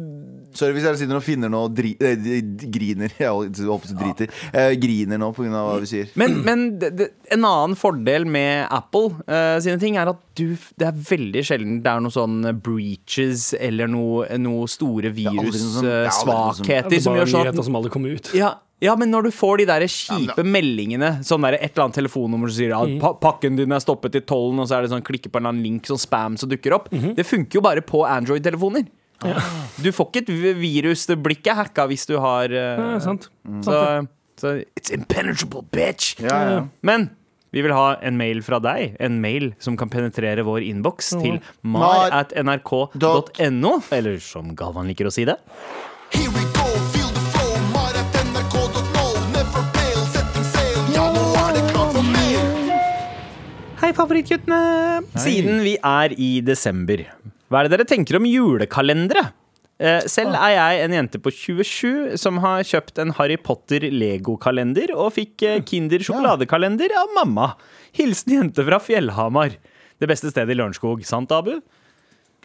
Sorry hvis jeg sitter og finner noe og dri, eh, de- de- griner. Jeg håper du driter. Eh, griner nå pga. hva vi sier. Men, men det, det, en annen fordel med Apple eh, sine ting er at du, det er veldig sjelden det er noe sånn breaches eller noe, noe store aldri noe sånn- det er aldri noe sånn- Det virussvakheter er som bare gjør sånn nyheter at som aldri kommer ut. ja, ja, men når du får de der men kjipe da- meldingene, sånn der et eller annet telefonnummer som sier at Mm. pa pakken din er stoppet i tollen, og så er det sånn klikke på en eller annen link, sånn spam som dukker opp, Mhm. det funker jo bare på Android-telefoner. Du får ikke et vi- virus, det blir ikke hacka hvis du har eh, Ja, sant. så, så It's impenetrable, bitch! Ja, ja. Men vi vil ha en mail fra deg, en mail som kan penetrere vår innboks til Mar- Mm. mar at nrk.no eller som Galvan liker å si det. Here we go, feel the flow. Mar at nrk.no. Never fail, setting sail. Ja, nå er det klart for mer. Hei, favorittguttene! Siden vi er i desember, hva er det dere tenker om julekalendere? Eh, Selv er jeg en jente på 27 som har kjøpt en Harry Potter-legokalender og fikk eh, Kinder sjokoladekalender av mamma. Hilsen jente fra Fjellhamar. Det beste stedet i Lørenskog. Sant, Abu?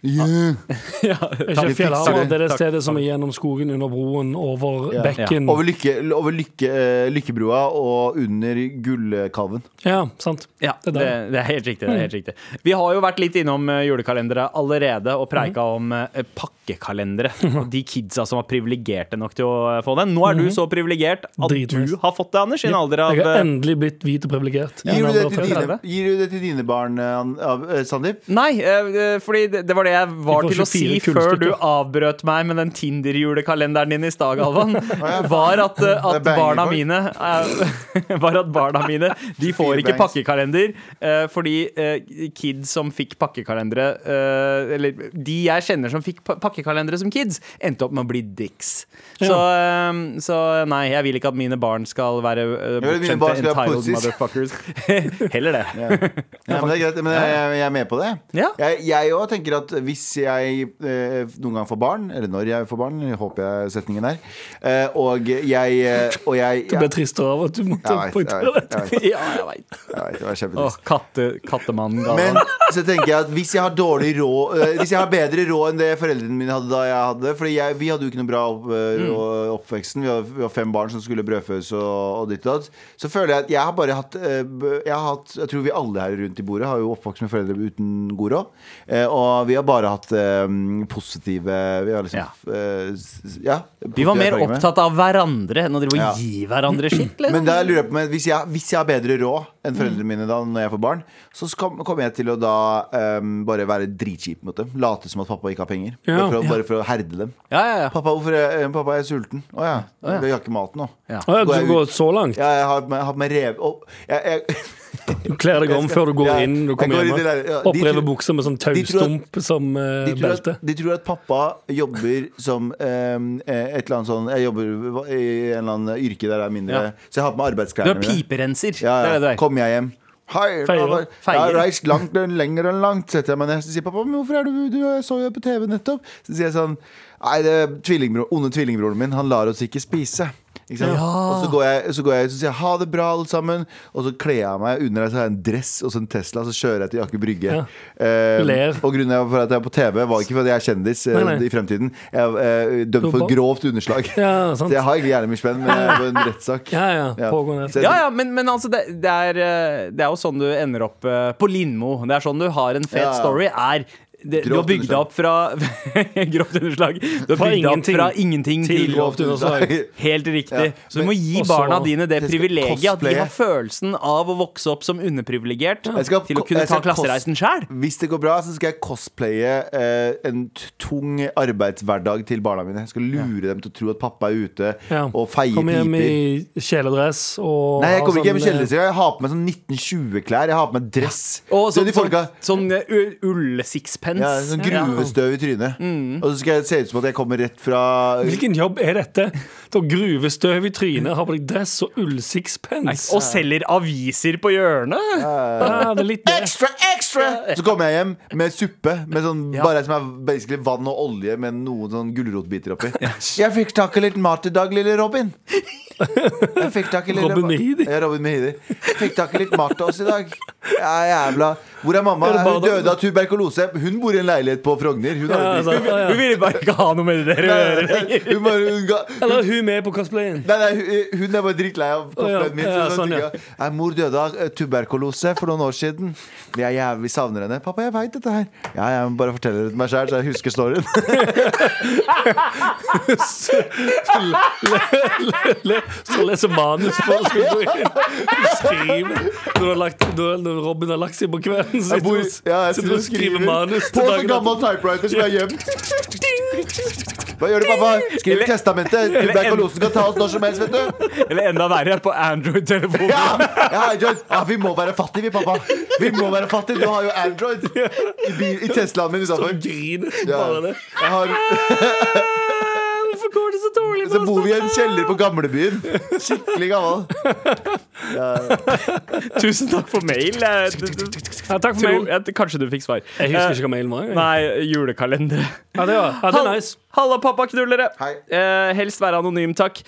Ja, Er ikke takk. Fjellhamar det er det Takk. stedet som er gjennom skogen, under broen, over Ja. bekken? Over, lykke, over lykke, eh, Lykkebroa og under Gullkalven. Ja, sant. Ja, Det er det, der. det er helt riktig. Det er helt riktig. Vi har jo vært litt innom eh, julekalendere allerede og preika Mhm. om eh, pakkekalendere. Og de kidsa som var privilegerte nok til å eh, få den. Nå er du så privilegert at Mhm. Dritnice. du har fått det, Anders, i en alder av Jeg har eh, endelig blitt hvit og privilegert. Gir, du det til Ja, dine- gir du det til dine barn, eh, An- av- eh, Sandeep? Nei, eh, eh, fordi det, det var det jeg var Vi får til å 24 si før du kulestykker. avbrøt meg med den Tinder-julekalenderen din i stad, Galvan. Var at, eh, at Det er banging barna for. mine eh, Var at barna mine De får Fire ikke bangs. pakkekalender eh, fordi eh, kids som fikk pakkekalendere eh, Eller de jeg kjenner som fikk pa- pakkekalendere som kids, endte opp med å bli dicks. Så, eh, så nei, jeg vil ikke at mine barn skal være eh, vil at mine barn bortskjemte skal ha entitled pussies. motherfuckers. Heller det. Ja, men det er greit, men jeg, jeg er med på det. Ja. Jeg- Jeg òg tenker at hvis jeg eh, noen gang får barn, eller når jeg får barn, håper jeg setningen er, eh, og jeg, eh, og jeg Det ble tristere av at du måtte Jeg vet, jeg poengtere vet, dette. jeg vet. Ja, jeg vet. Jeg vet, det var Åh, kjempetrist. katte, kattemannen Galvan. Men så tenker jeg at hvis jeg har dårlig råd eh, Hvis jeg har bedre råd enn det foreldrene mine hadde da jeg hadde Fordi jeg, vi hadde jo ikke noe bra opp, eh, Mm. rå- oppveksten vi var, vi var fem barn som skulle brødføs og, og ditt og datt Så føler jeg at jeg har bare hatt, eh, b- jeg, har hatt jeg tror vi alle her rundt i bordet har jo oppvokst med foreldre uten god råd Eh, Og vi har bare hatt eh, positive Vi har liksom eh, s- s- ja, Vi var mer positive erfaringer med. opptatt av hverandre enn å drive og Ja. gi hverandre skitt. Liksom. Men da lurer jeg på meg, hvis, jeg, hvis jeg har bedre råd enn foreldrene mine da når jeg får barn, så skal- kommer jeg til å da ehm, bare være dritkjip mot dem. Late som at pappa ikke har penger. Ja. bare, for å, bare for å herde dem. Ja, ja, ja. Pappa, hvorfor er, eh, pappa, jeg er sulten. Å ja. Jeg har ikke mat nå. Ja. Å, ja, du Går jeg går ut? så langt. Ja, jeg har på meg- jeg har på meg rev... og- jeg, jeg, Du kler deg om før du går Ja, inn. Du jeg går kommer i hjem. det der, ja, de Opprever tror- buksa med sånn de tror at- taustump som eh, de, tror at, belte. de tror at pappa jobber som ehm, eh, et eller annet sånn Jeg jobber i en eller annen yrke der det er mindre Ja. Så jeg har på meg Du er arbeidsklærne piperenser. Ja, ja. Det er det du er. Kom jeg hjem. Hei, Feier. pappa. jeg Feier. har reist langt enn lenger enn langt. Setter jeg meg ned og sier pappa, men hvorfor er du, du jeg så jo på TV nettopp. Så sier jeg sånn Nei, det er tvillingbro, onde tvillingbroren min, han lar oss ikke spise. Ikke sant? Og så går, jeg, så går jeg ut og sier ha det bra, alle sammen. Og så kler jeg meg under så har jeg en dress og så en Tesla, så kjører jeg til Aker Brygge. Eh, Ler. og grunnen for at jeg er på TV, var ikke fordi jeg er kjendis eh, Nei, nei. i fremtiden. Jeg er eh, dømt for Robot. grovt underslag. Ja, sant. Så jeg har egentlig hjernemyrspenn eh, på en rettssak. Ja, ja, pågående. Så jeg- Ja, ja, men, men altså, det, det, er, eh, det er jo sånn du ender opp eh, på Lindmo. Det er sånn du har en fet Ja, ja. story. Er det, du har Grovt bygd underslag. opp fra Grovt underslag. Du har Fra bygd opp ingenting fra ingenting til til, grovt underslag. Helt riktig. Ja, Så du men må gi også- barna dine det Jeg skal privilegiet at de cosplaye. har følelsen av å vokse opp som underprivilegert Jeg skal- til å kunne jeg skal ta klassereisen sjæl. Hvis det går bra, så skal jeg cosplaye eh, en t- tung arbeidshverdag til barna mine. Jeg skal lure dem til å tro at pappa er ute Ja. og feier Kommer hjem piper. i kjeledress og Nei, jeg har kommer ikke hjem i sånn, eh, kjeldrestrekk. Jeg har på meg sånn 1920-klær. Jeg har på meg dress. Og Så sånn, de folka- sånn, sånn u- ull-sixpence. ja, sånn gruvestøv i trynet. Mm. Og så skal jeg se ut som at jeg kommer rett fra Hvilken jobb er dette? Du har gruvestøv i trynet, har på deg dress og ullsixpence. Og selger aviser på hjørnet. Ja, det er litt det. Extra, extra! Så kommer jeg hjem med suppe. Med sånn, Bare som er basically vann og olje med noen sånn gulrotbiter oppi. Jeg fikk tak i litt mat i dag, lille Robin. Jeg fikk tak i lille Robin Mehidi. Ja, Robin Mehidi. Jeg fikk tak i litt mat til oss i dag. Ja, jævla Hvor er mamma? Er det Hun bare- døde av tuberkulose. Hun bor i en leilighet på Frogner. Hun har aldri Ja, altså, ja, Hun ja. ville bare ikke ha noe med det der å gjøre. Hun bare, hun ga, Eller er hun med på cosplayen? Nei, nei, hun- hun er bare drittlei av Å, ja. cosplayen min. så Ja, hun sånn, ja. tenker, Nei, mor døde av eh, tuberkulose for noen år siden. Vi, er jævlig, vi savner henne. 'Pappa, jeg veit dette her.' Ja, jeg må bare fortelle det til meg sjæl, så jeg husker storyen. Le- Så leser manus for å skulle gå inn. Du skriver. Du har lagt, du, når Robin har lagt seg på kvelden, så Jeg bor- sitter du ja, jeg sitter du og skriver manus på til en dagen gammel typewriter som jeg har gjemt. Hva gjør du, pappa? Skriv i testamentet. Tuberkulosen kan ta oss når som helst, vet du. Eller enda verre, på Android-telefonen. Ja, ja, Android. ja, vi må være fattige, vi, pappa. Vi må være fattige. Du har jo Android i, bil- i Teslaen min etter. utenfor. Griner Ja. bare det. Jeg har Hvorfor går det så dårlig Så bor vi i en kjeller på gamlebyen. Skikkelig gammel. Tusen takk for mail. Jeg, d- d- Ja, takk for tror, mail. jeg, kanskje du fikk svar. Eh, Jeg husker ikke hva mailen var. jeg. Nei, julekalendere. Ja, det var ja, det er Hall- nice. Halla, pappaknullere. Hei. Eh, helst være anonym, takk.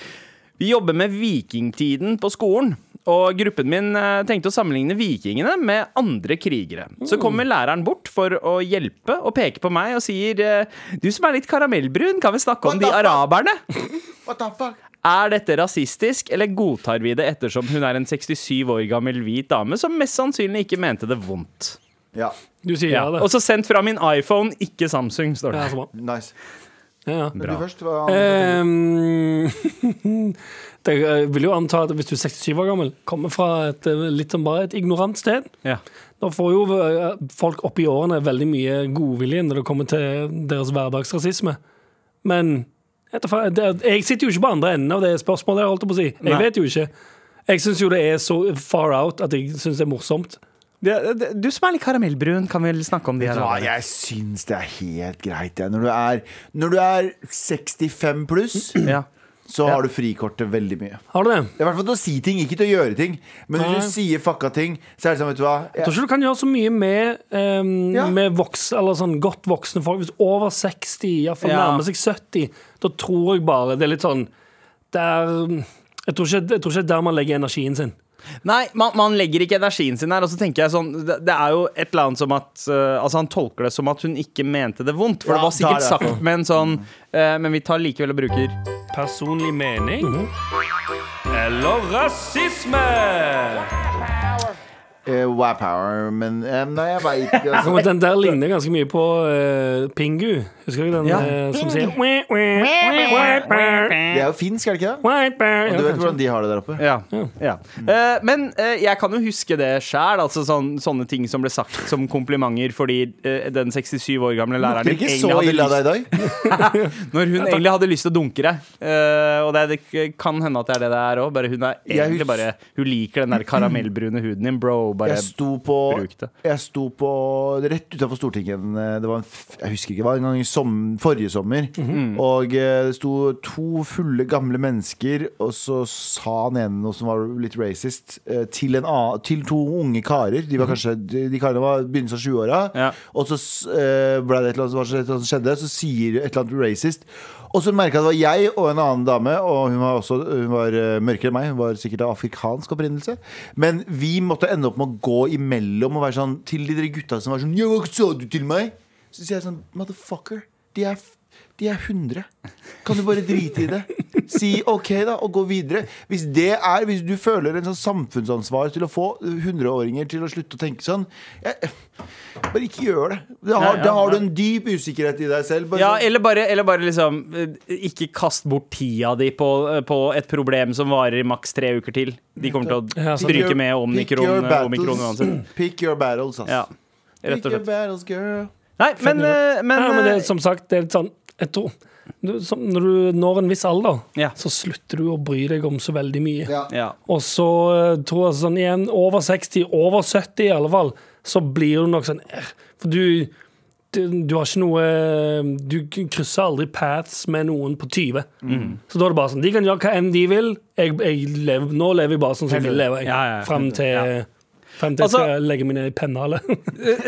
Vi jobber med vikingtiden på skolen. Og gruppen min eh, tenkte å sammenligne vikingene med andre krigere. Mm. Så kommer læreren bort for å hjelpe og peker på meg og sier eh, Du som er litt karamellbrun, kan vi snakke om What the de fuck? araberne? What the fuck? Er dette rasistisk, eller godtar vi det ettersom hun er en 67 år gammel hvit dame som mest sannsynlig ikke mente det vondt? Ja, Du sier ja, det. Og så sendt fra min iPhone, ikke Samsung, står det. Ja, så bra. nice. Ja, ja. Men du først, hva Ehm, det, jeg vil jo anta at hvis du er 67 år gammel, kommer fra et eh, litt sånn bare et ignorant sted Ja. Da får jo eh, folk opp i årene veldig mye godvilje når det kommer til deres hverdagsrasisme. Men jeg vet da faen, det- jeg sitter jo ikke på andre enden av det spørsmålet. Jeg holdt på å si Jeg Nei. vet jo ikke. Jeg syns jo det er så far out at jeg syns det er morsomt. Det- det- Du som er litt karamellbrun, kan vel snakke om de her? Ja, jeg syns det er helt greit. Jeg. Når, du er, når du er 65 pluss, Ja. så har du frikortet veldig mye. Har du det? Det er i hvert fall til å si ting, ikke til å gjøre ting. Men når du sier fucka ting, så er det sånn, vet du hva Jeg jeg, tror ikke du kan gjøre så mye med, ehm, Ja. med voks, eller sånn godt voksne folk. Hvis over 60, iallfall Ja. nærmer seg 70, da tror jeg bare det er litt sånn der, jeg, tror ikke, jeg tror ikke det er der man legger energien sin. Nei, man, man legger ikke energien sin her. Og så tenker jeg sånn Det, det er jo et eller annet som at eh, Altså, han tolker det som at hun ikke mente det vondt. For Ja, det var sikkert det er derfor. sagt med en sånn eh, Men vi tar likevel og bruker Personlig mening eller rasisme? eh, Wow power, men eh, Nei, jeg veit ikke. Altså. Den der ligner ganske mye på eh, Pingu. Husker du den Ja. eh, som sier "Wah, wah, white bear, Det er jo finsk, er det ikke det? white bear"? Og du Ja, vet hvordan de har det der oppe? Ja. ja. Eh, men eh, jeg kan jo huske det sjæl. Altså sånn, sånne ting som ble sagt som komplimenter fordi eh, den 67 år gamle læreren Det er din ikke så egentlig ille av hadde deg i dag. lyst, når hun egentlig hadde lyst til å dunke deg. Eh, og det, er- det kan hende at det er det det er òg. Bare hun er Jeg egentlig hus- bare Hun liker den der karamellbrune huden din, bro. Bare Jeg sto på, bruk det. jeg sto på rett utenfor Stortinget. en, eh, Det var en, f- jeg husker ikke, det var en gang i som- forrige sommer. Mhm. Og eh, det sto to fulle gamle mennesker, og så sa han ene noe som var litt racist, eh, til, en, annen- til to unge karer. De var kanskje De de karene var begynnelsen av 20-åra. Mhm. Ja. Og så s- eh, ble det et eller annet som var- et eller annet som skjedde, så sier et eller annet racist. Og så merka jeg at det var jeg og en annen dame, og hun var, også, hun var eh, mørkere enn meg. Hun var sikkert av afrikansk opprinnelse. Men vi måtte ende opp med å gå imellom og være sånn til de der gutta som var sånn «Ja, Hva sa du til meg? Så sier jeg sånn Motherfucker, de er, f- de er 100. Kan du bare drite i det? Si OK, da, og gå videre. Hvis det er, hvis du føler en sånn samfunnsansvar til å få 100-åringer til å slutte å tenke sånn jeg, Bare ikke gjør det. Da har, Ja, ja, da har ja. du en dyp usikkerhet i deg selv. Bare Ja, sånn- eller bare, eller bare liksom eh, Ikke kast bort tida di på, eh, på et problem som varer i maks tre uker til. De kommer til Ja, å sant. stryke med Pick your omikron, eh, battles. omikron uansett. Pick your battles, ass. Ja, Pick rett og your slett. battles, girl. Nei, men, eh, men, Nei, men det, er eh, som sagt, det er litt sånn jeg tror, du, som, Når du når en viss alder, Ja. så slutter du å bry deg om så veldig mye. Ja. ja. Og så eh, tror jeg sånn igjen, over 60, over 70 i alle fall, så blir du nok sånn eh, For du, du, du har ikke noe eh, Du krysser aldri paths med noen på 20. Mm. Så da er det bare sånn De kan gjøre hva enn de vil. Jeg, jeg lever, nå lever jeg bare sånn som jeg vil leve. Jeg, Ja, ja, ja. Frem til Frem til jeg Altså- skal legge meg ned i pennehalet.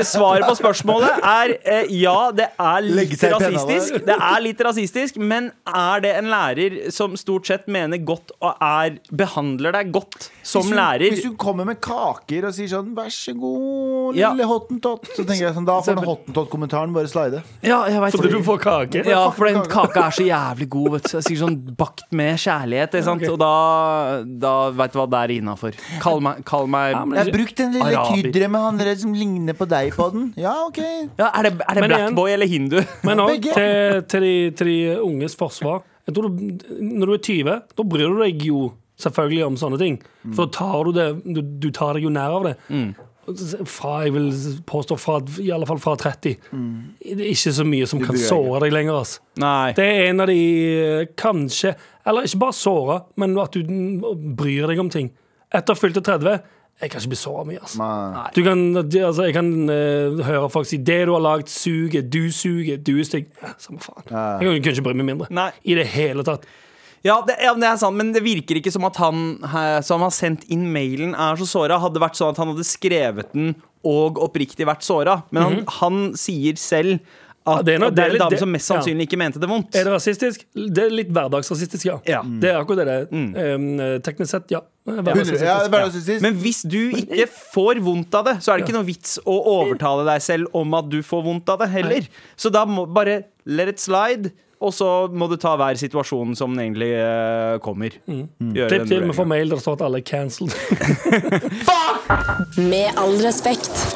Svaret på spørsmålet er eh, ja, det er Legge litt seg i rasistisk. pennalet. Det er litt rasistisk, men er det en lærer som stort sett mener godt og er, behandler deg godt som Hvis hun- lærer? Hvis hun kommer med kaker og sier sånn 'vær så god, Ja. lille hottentott', så tenker jeg sånn, da får den hottentott-kommentaren bare slide. Ja, jeg vet Fordi du får kake. Ja, for den kaka er så jævlig god. Vet du. Jeg sier sånn bakt med kjærlighet. Ikke sant? Og da, da veit du hva det er innafor. Kall meg, kall meg Ja, men- Jeg har brukt den lille Araber. krydderet med han der som ligner på deg på den. Ja, OK. ja, Er det, er det Men igjen- black boy eller hindu? Men òg Begge. til, til, de- til de unges forsvar. Jeg tror du, når du er 20, da bryr du deg jo selvfølgelig om sånne ting. For da tar du det Du, du tar deg jo nær av det. Fra jeg vil påstå fra, i alle fall fra 30. Mm. Det er ikke så mye som kan bryr deg såre deg lenger. Ass. Nei. Det er en av de eh, kanskje Eller ikke bare såre, men at du mm, bryr deg om ting. Etter fylte 30 Jeg kan ikke bli såra mye. Ass. Nei. Du kan, de- altså, jeg kan eh, høre folk si 'det du har lagd, suger', 'du suger', 'du er stygg'. Ja, Samme faen. Jeg kan jo ikke bry meg mindre. Nei. I det hele tatt. Ja, det, ja, men det er sant, men det virker ikke som at han eh, som har sendt inn mailen, er så såra. Hadde vært sånn at han hadde skrevet den og oppriktig vært såra. Men han, han sier selv at Mhm. det det er, er noe- det er en litt- dame det- som mest ja. sannsynlig ikke mente det vondt. Er det rasistisk? Det er litt hverdagsrasistisk, ja. Ja. Mm. Det er akkurat det det er. Eh, teknisk sett, ja. 100, Hverdagsrasistisk. ja, det er bare rasistisk. Men hvis du ikke får vondt av det, så er det ikke noe vits å overtale deg selv om at du får vondt av det heller. Så da må bare let it slide, og så må du ta hver situasjon som den egentlig eh, kommer. Gjøre Mm. Klipp den til vi får vurderingen. mail der det står at alle er cancelled. Med all respekt.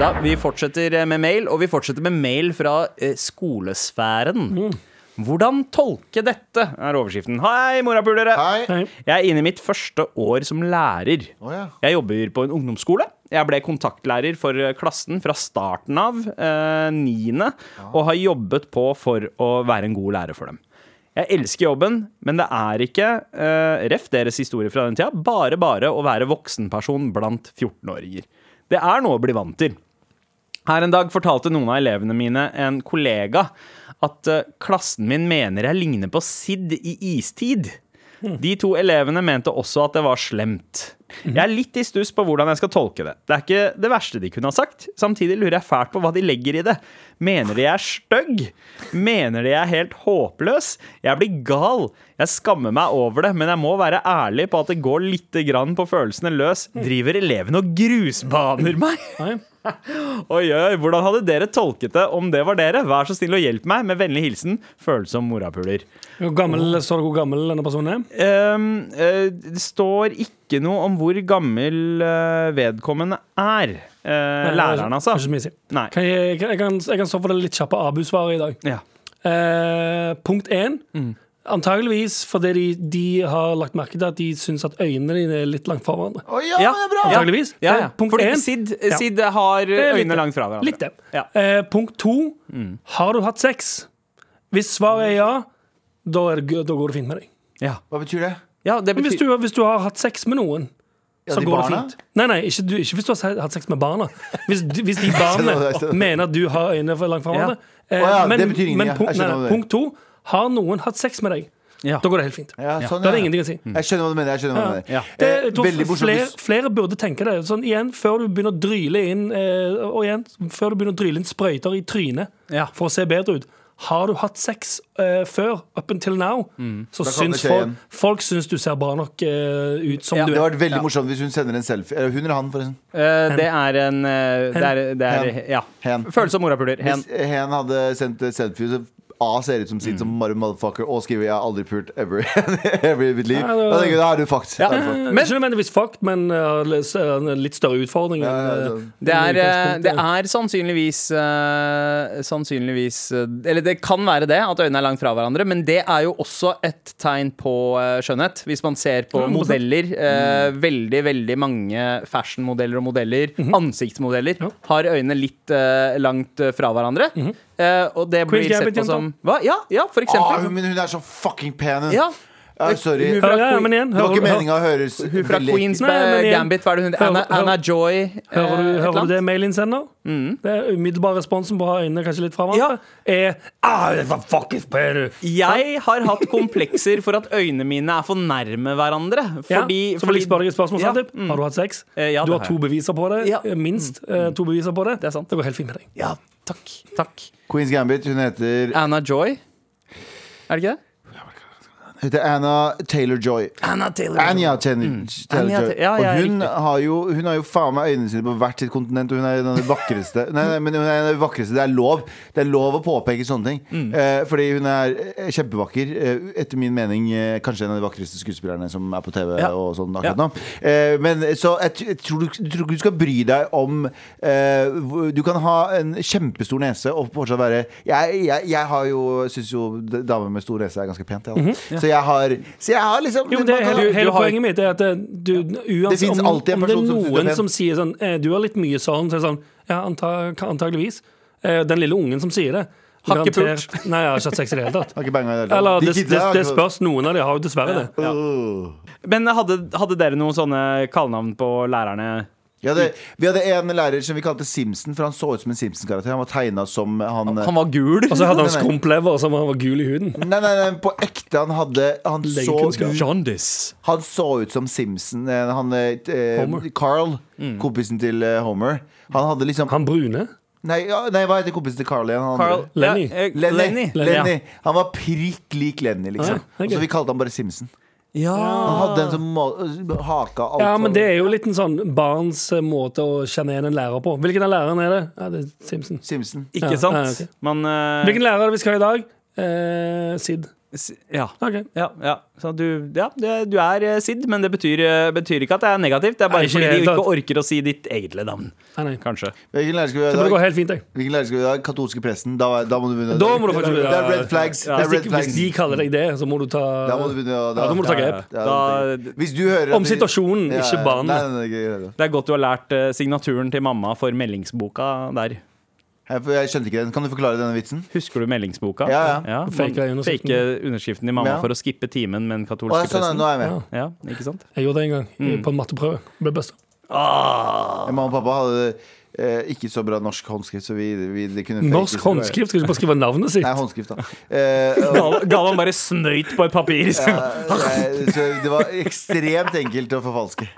Da, vi fortsetter eh, med mail, og vi fortsetter med mail fra eh, skolesfæren. Hvordan tolke dette, er overskriften. Hei, morapulere! Hei. Nei. Jeg er inne i mitt første år som lærer. Å, ja. Jeg jobber på en ungdomsskole. Jeg ble kontaktlærer for eh, klassen fra starten av, eh, niende, og har jobbet på for å være en god lærer for dem. Jeg elsker jobben, men det er ikke, eh, ref deres historie fra den tida, bare bare å være voksenperson blant 14-åringer. Det er noe å bli vant til. Her en dag fortalte noen av elevene mine en kollega at eh, klassen min mener jeg ligner på Sid i istid. De to elevene mente også at det var slemt. Jeg er litt i stuss på hvordan jeg skal tolke det. Det er ikke det verste de kunne ha sagt. Samtidig lurer jeg fælt på hva de legger i det. Mener de jeg er stygg? Mener de jeg er helt håpløs? Jeg blir gal. Jeg skammer meg over det, men jeg må være ærlig på at det går lite grann på følelsene løs. Driver elevene og grusbaner meg? Nei. Oi, oi, oi, hvordan hadde dere tolket det om det var dere? Vær så snill og hjelp meg. Med vennlig hilsen følsom morapuler. Hvor gammel, så du hvor gammel denne personen er? Ehm, eh, det står ikke noe om hvor gammel eh, vedkommende er. Eh, læreren, altså. Det er Ikke så mye å si. Nei. Kan jeg, kan, jeg, kan, jeg kan stå for det litt kjappe Abu-svaret i dag. Ja. Eh, punkt én. Mm. Antageligvis fordi de, de har lagt merke til at de syns at øynene dine er litt langt fra hverandre. Å ja, men det er bra! Ja. Antageligvis. Ja, ja. Eh, punkt Fordi én. Sid, Ja. Sid har er litt øynene det. langt fra hverandre. Litt det. Ja. Eh, punkt to. Mm. Har du hatt sex? Hvis svaret er ja, da, er det, gu- da går det fint med deg. Ja. Hva betyr det? ja, det Men hvis betyr du, hvis du har hatt sex med noen, Ja, så de går det barna? fint. Nei, nei, ikke, du, ikke hvis du har se- hatt sex med barna. Hvis, du- hvis de barna mener at du har øynene for langt fra hverandre. Å Eh, ja, det men betyr ingenting, men ja. punkt, Jeg skjønner nei, hva du nei, mener. punkt to. Har noen hatt sex med deg? Ja. Da går det helt fint. Ja, sånn, Da er det ja. ingenting å si. Jeg skjønner hva du mener. Jeg skjønner hva du mener. Det, Eh, jeg tror veldig morsomt flere, hvis- flere burde tenke det. Sånn igjen, Før du begynner å dryle inn eh, Og igjen, før du begynner å dryle inn sprøyter i trynet Ja. for å se bedre ut. Har du hatt sex eh, før, up until now, så Mm. Da kan det syns skje folk, igjen. folk syns du ser bra nok eh, ut som Ja, du Det er. hadde vært veldig morsomt hvis hun sender en selfie. Eller hun eller han, forresten. Eh, Det er en eh, Det er, det er Hen. ja. Hen. Følsom morapuler. Hen. Hvis hen hadde sendt et selfie, så A ser ut som Mm. sitt som Mario Motherfucker og skriver 'Jeg har aldri pult ever, ever i mitt liv'. Ja, det- Da tenker jeg, da er du fucked. Da er du fucked. Men, ikke nødvendigvis fucked, men eh, les- eh, en litt større utfordring. Ja, altså, ja, ja. enn, eh, Det er, eh, utgangspunktet. det er sannsynligvis eh, Sannsynligvis eh, Eller det kan være det, at øynene er langt fra hverandre, men det er jo også et tegn på eh, skjønnhet. Hvis man ser på 100%. modeller, eh, Mm. veldig veldig mange fashionmodeller og modeller, ansiktsmodeller, Mhm. Ja. Mhm. har øynene litt eh, langt eh, fra hverandre. Eh, og det blir Queen's sett på Gambit-jenta. som Hva? Ja, ja, for Ah, eksempel. hun, men hun er så fucking pen, hun. ja. Ja, sorry. Hun Det fra, Ja, ja, men Queen, igjen, var hører, ikke hører, meninga å høres hun fra veldig- Queens Nei, men igjen. Gambit, hva er det hun Anna, Hører- Anna Joy? eh, hører du, et eller hører du annet? Mm. det mail-in sender? Det er umiddelbar responsen på å ha øynene kanskje litt fra Ja. hverandre. Er ah, hva fuck is per? Jeg har hatt komplekser for at øynene mine er for nærme hverandre. Fordi, ja, så vil jeg spørre deg et spørsmål, Ja, Sandeep. Har du hatt sex? Eh, ja, du det har har to jeg. beviser på det. Ja. Mm. eh, Minst eh, to beviser på det. Det er sant. går helt fint med deg. Ja, takk. takk Queens Gambit. Hun heter, Anna Joy. Er det ikke det? heter Anna Taylor-Joy. Anna Taylor. Anja Taylor, Taylor Anja Joy. Ta- ja, ja, og hun riktig. har, jo, hun har jo faen meg øynene sine på hvert sitt kontinent, og hun er en av de vakreste. Nei, nei, men hun er en av de vakreste. Det er lov Det er lov å påpeke sånne ting. Eh, fordi hun er eh, kjempevakker. Eh, etter min mening eh, kanskje en av de vakreste skuespillerne som er på TV Ja. og sånn Ja. akkurat nå. Eh, men så jeg, t- jeg tror, du, tror ikke du skal bry deg om eh, hvor- Du kan ha en kjempestor nese og fortsatt være Jeg, jeg, jeg har jo syns jo d- damer med stor nese er ganske pent, jeg. da. så, jeg har, så jeg har liksom Jo, men det, man er kan- hele, hele har- poenget mitt er at eh, du, uansett finnes om, om alltid det en er person som synes det er noen pent. som sier sånn eh, Du har litt mye sånn, så er det sånn Ja, anta- ka- antageligvis. Eh, Den lille ungen som sier det. Har ikke pult. garantert- Nei, jeg har ikke hatt sex i det hele tatt. Har ikke banga i det hele Eller tatt. De det, kidsa det, har det ikke- spørs. Noen av de har jo dessverre det. Åh. Men hadde, hadde dere noen sånne kallenavn på lærerne? Vi hadde, vi hadde en lærer som vi kalte Simpson, for han så ut som en Simpson-karakter. Han var tegna som han Han var gul. Og så hadde han Nei, nei. skrumplever som han var gul i huden. Nei, nei, nei, på ekte. Han hadde Han så Legekunnskap. ut, Jaundice. han så ut som Simpson. eh, Han, eh, eh, Homer. Carl, Mm. kompisen til eh, Homer. Han hadde liksom Han brune. Nei, ja, nei hva heter kompisen til Carl igjen? Han Carl andre? Lenny. Ja, eh, Lenny. Lenny. Lenny. Han var prikk lik Lenny, liksom. Ah, ja, ok. Så vi kalte han bare Simpson. Ja. Han hadde en som må- haka alt. Ja, men det er jo litt en sånn barns eh, måte å kjenne igjen en lærer på. Hvilken av lærerne er det? Ja, det er Simpson. Simpson. Ikke Ja, sant? ja, ok. Man eh, Hvilken lærer er det vi skal ha i dag? Eh, Sid. s- Ja. Ok. Ja, ja. Så du, ja, det- du er eh, Sid, men det betyr, eh, betyr ikke at det er negativt. Det er Nei, bare ikke fordi i det du hele ikke orker å si ditt egentlige navn. Nei, nei. Kanskje. Hvilken lærer skal vi ha i dag? Det burde gå helt fint, jeg. Hvilken lærer skal vi ha? Katolske presten. Da, da må du begynne. Da må du faktisk det er red flags. Ja, det er Hvis, red de, flags. hvis de kaller deg det, så må du ta Da må du begynne å Ja, da må du ta grep. Ja, Da- Hvis du hører at Om de- situasjonen, Ja, ikke Nei, barnet. nei, nei, greit, greit. Det er godt du har lært eh, signaturen til mamma for meldingsboka der. Jeg, jeg skjønte ikke den. Kan du forklare denne vitsen? Husker du meldingsboka? Ja, ja. ja Fake man- underskriften. fake underskriften til mamma Ja. for å skippe timen med den Å, sånn, er katolske det. nå presten. er jeg med. Ja. Ja, ikke sant? Jeg gjorde det en gang i- på en matteprøve. Ble best. Mamma og pappa hadde eh, ikke så bra norsk håndskrift, så vi, vi det kunne fake- Norsk håndskrift? Skal du ikke bare skrive navnet sitt? Nei, håndskrift, da. Eh, og- Galvan bare snøyt på et papir. Nei, eh, så det var ekstremt enkelt å forfalske.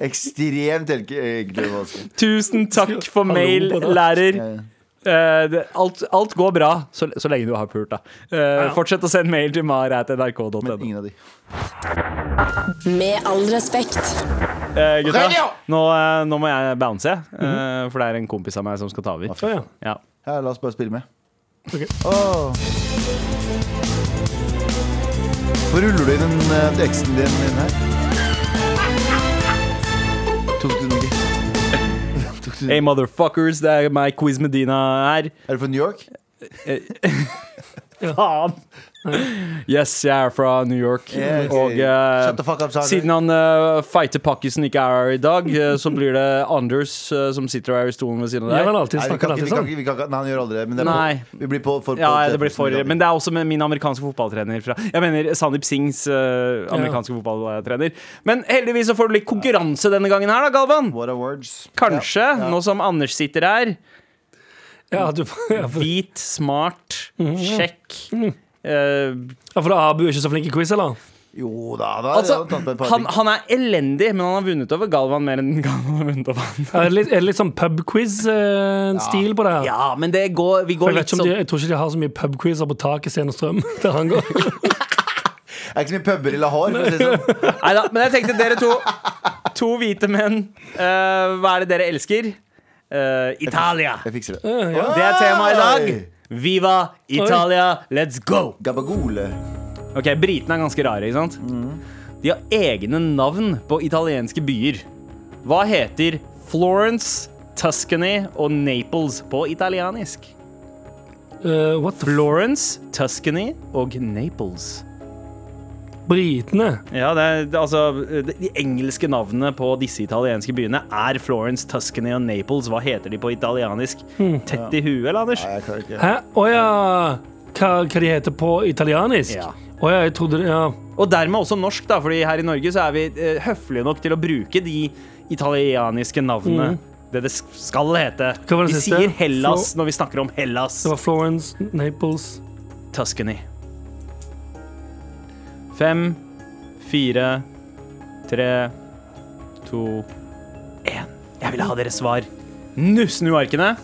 Ekstremt enke- enkelt å forfalske. Tusen takk for mail, Hallo på deg. lærer. Eh, det, alt, alt går bra, så, så lenge du har pult, da. Eh, Fortsett å sende mail til mar.nrk.no. Men ingen av de. Med all respekt. Eh, gutta, Radio! nå, eh, nå må jeg bounce, jeg. Eh, Mhm. for det er en kompis av meg som skal ta over. Å, ja. Ja. Ja, la oss bare spille med. Ok. Åh. Hvor ruller du inn den eh, teksten din inn her? Tok du den ikke? Tok du den? Hey, motherfuckers, det er meg, Quiz Medina her. Er du fra New York? Eh, Faen! Yes, jeg er fra New York. Yeah, ok. Og eh, Shut the fuck up, Sander. siden han eh, fighter Pakkisen ikke er her i dag, eh, så blir det Anders eh, som sitter her i stolen ved siden av Gjør deg. han alltid? Nei, vi Snakker kan han ikke, vi alltid kan sånn? ikke, vi kan ikke, nei, han gjør aldri det. Men det er Nei. på, vi blir på for Ja, på- det blir for, men det er også med min amerikanske fotballtrener fra Jeg mener Sandeep Singhs eh, amerikanske fotballtrener. Men heldigvis så får du litt konkurranse denne gangen her, da, Galvan. What are words? Kanskje, nå som Anders sitter her. Ja, du, ja, for, Hvit, smart, Mhm. kjekk. eh, ja, for da er Abu ikke så flink i quiz, eller? Jo da, da altså, jeg har tatt med et par han, ting. han er elendig, men han har vunnet over Galvan mer enn Galvan har vunnet over han. Er det litt, er det litt sånn pubquiz-stil på det her? Ja, men det går, vi For går jeg, litt vet ikke om de, sånn jeg tror ikke de har så mye pubquizer på taket, Sten og Strøm. Der han går. Det er ikke så mye puber i Lahore. For å si det sånn. Nei da, men jeg tenkte dere to To hvite menn. eh, hva er det dere elsker? Eh, Italia. Jeg fikser det. Det er temaet i dag. Viva Italia, let's go! Gabagole. Ok, Britene er ganske rare, ikke sant? De har egne navn på italienske byer. Hva heter Florence, Tuscany og Naples på italienisk? Eh, what the f... Florence, Tuscany og Naples. Britene. Ja, det er, det, altså, de- De engelske navnene på disse italienske byene er Florence, Tuscany og Naples. Hva heter de på italienisk? Tett i huet, eller, Anders? Nei, jeg klarer ikke. Hæ? Å ja. Hva, hva de heter på italienisk? Ja. Å ja, jeg trodde det Ja. Og dermed også norsk, da, fordi her i Norge så er vi eh, høflige nok til å bruke de italieniske navnene. Det det sk- skal hete. Mm. Hva var Vi det siste? sier Hellas Flo- når vi snakker om Hellas. Det var Florence, Naples Tuscany. Fem, fire, tre, to, én. Jeg vil ha deres svar. Nu snu arkene.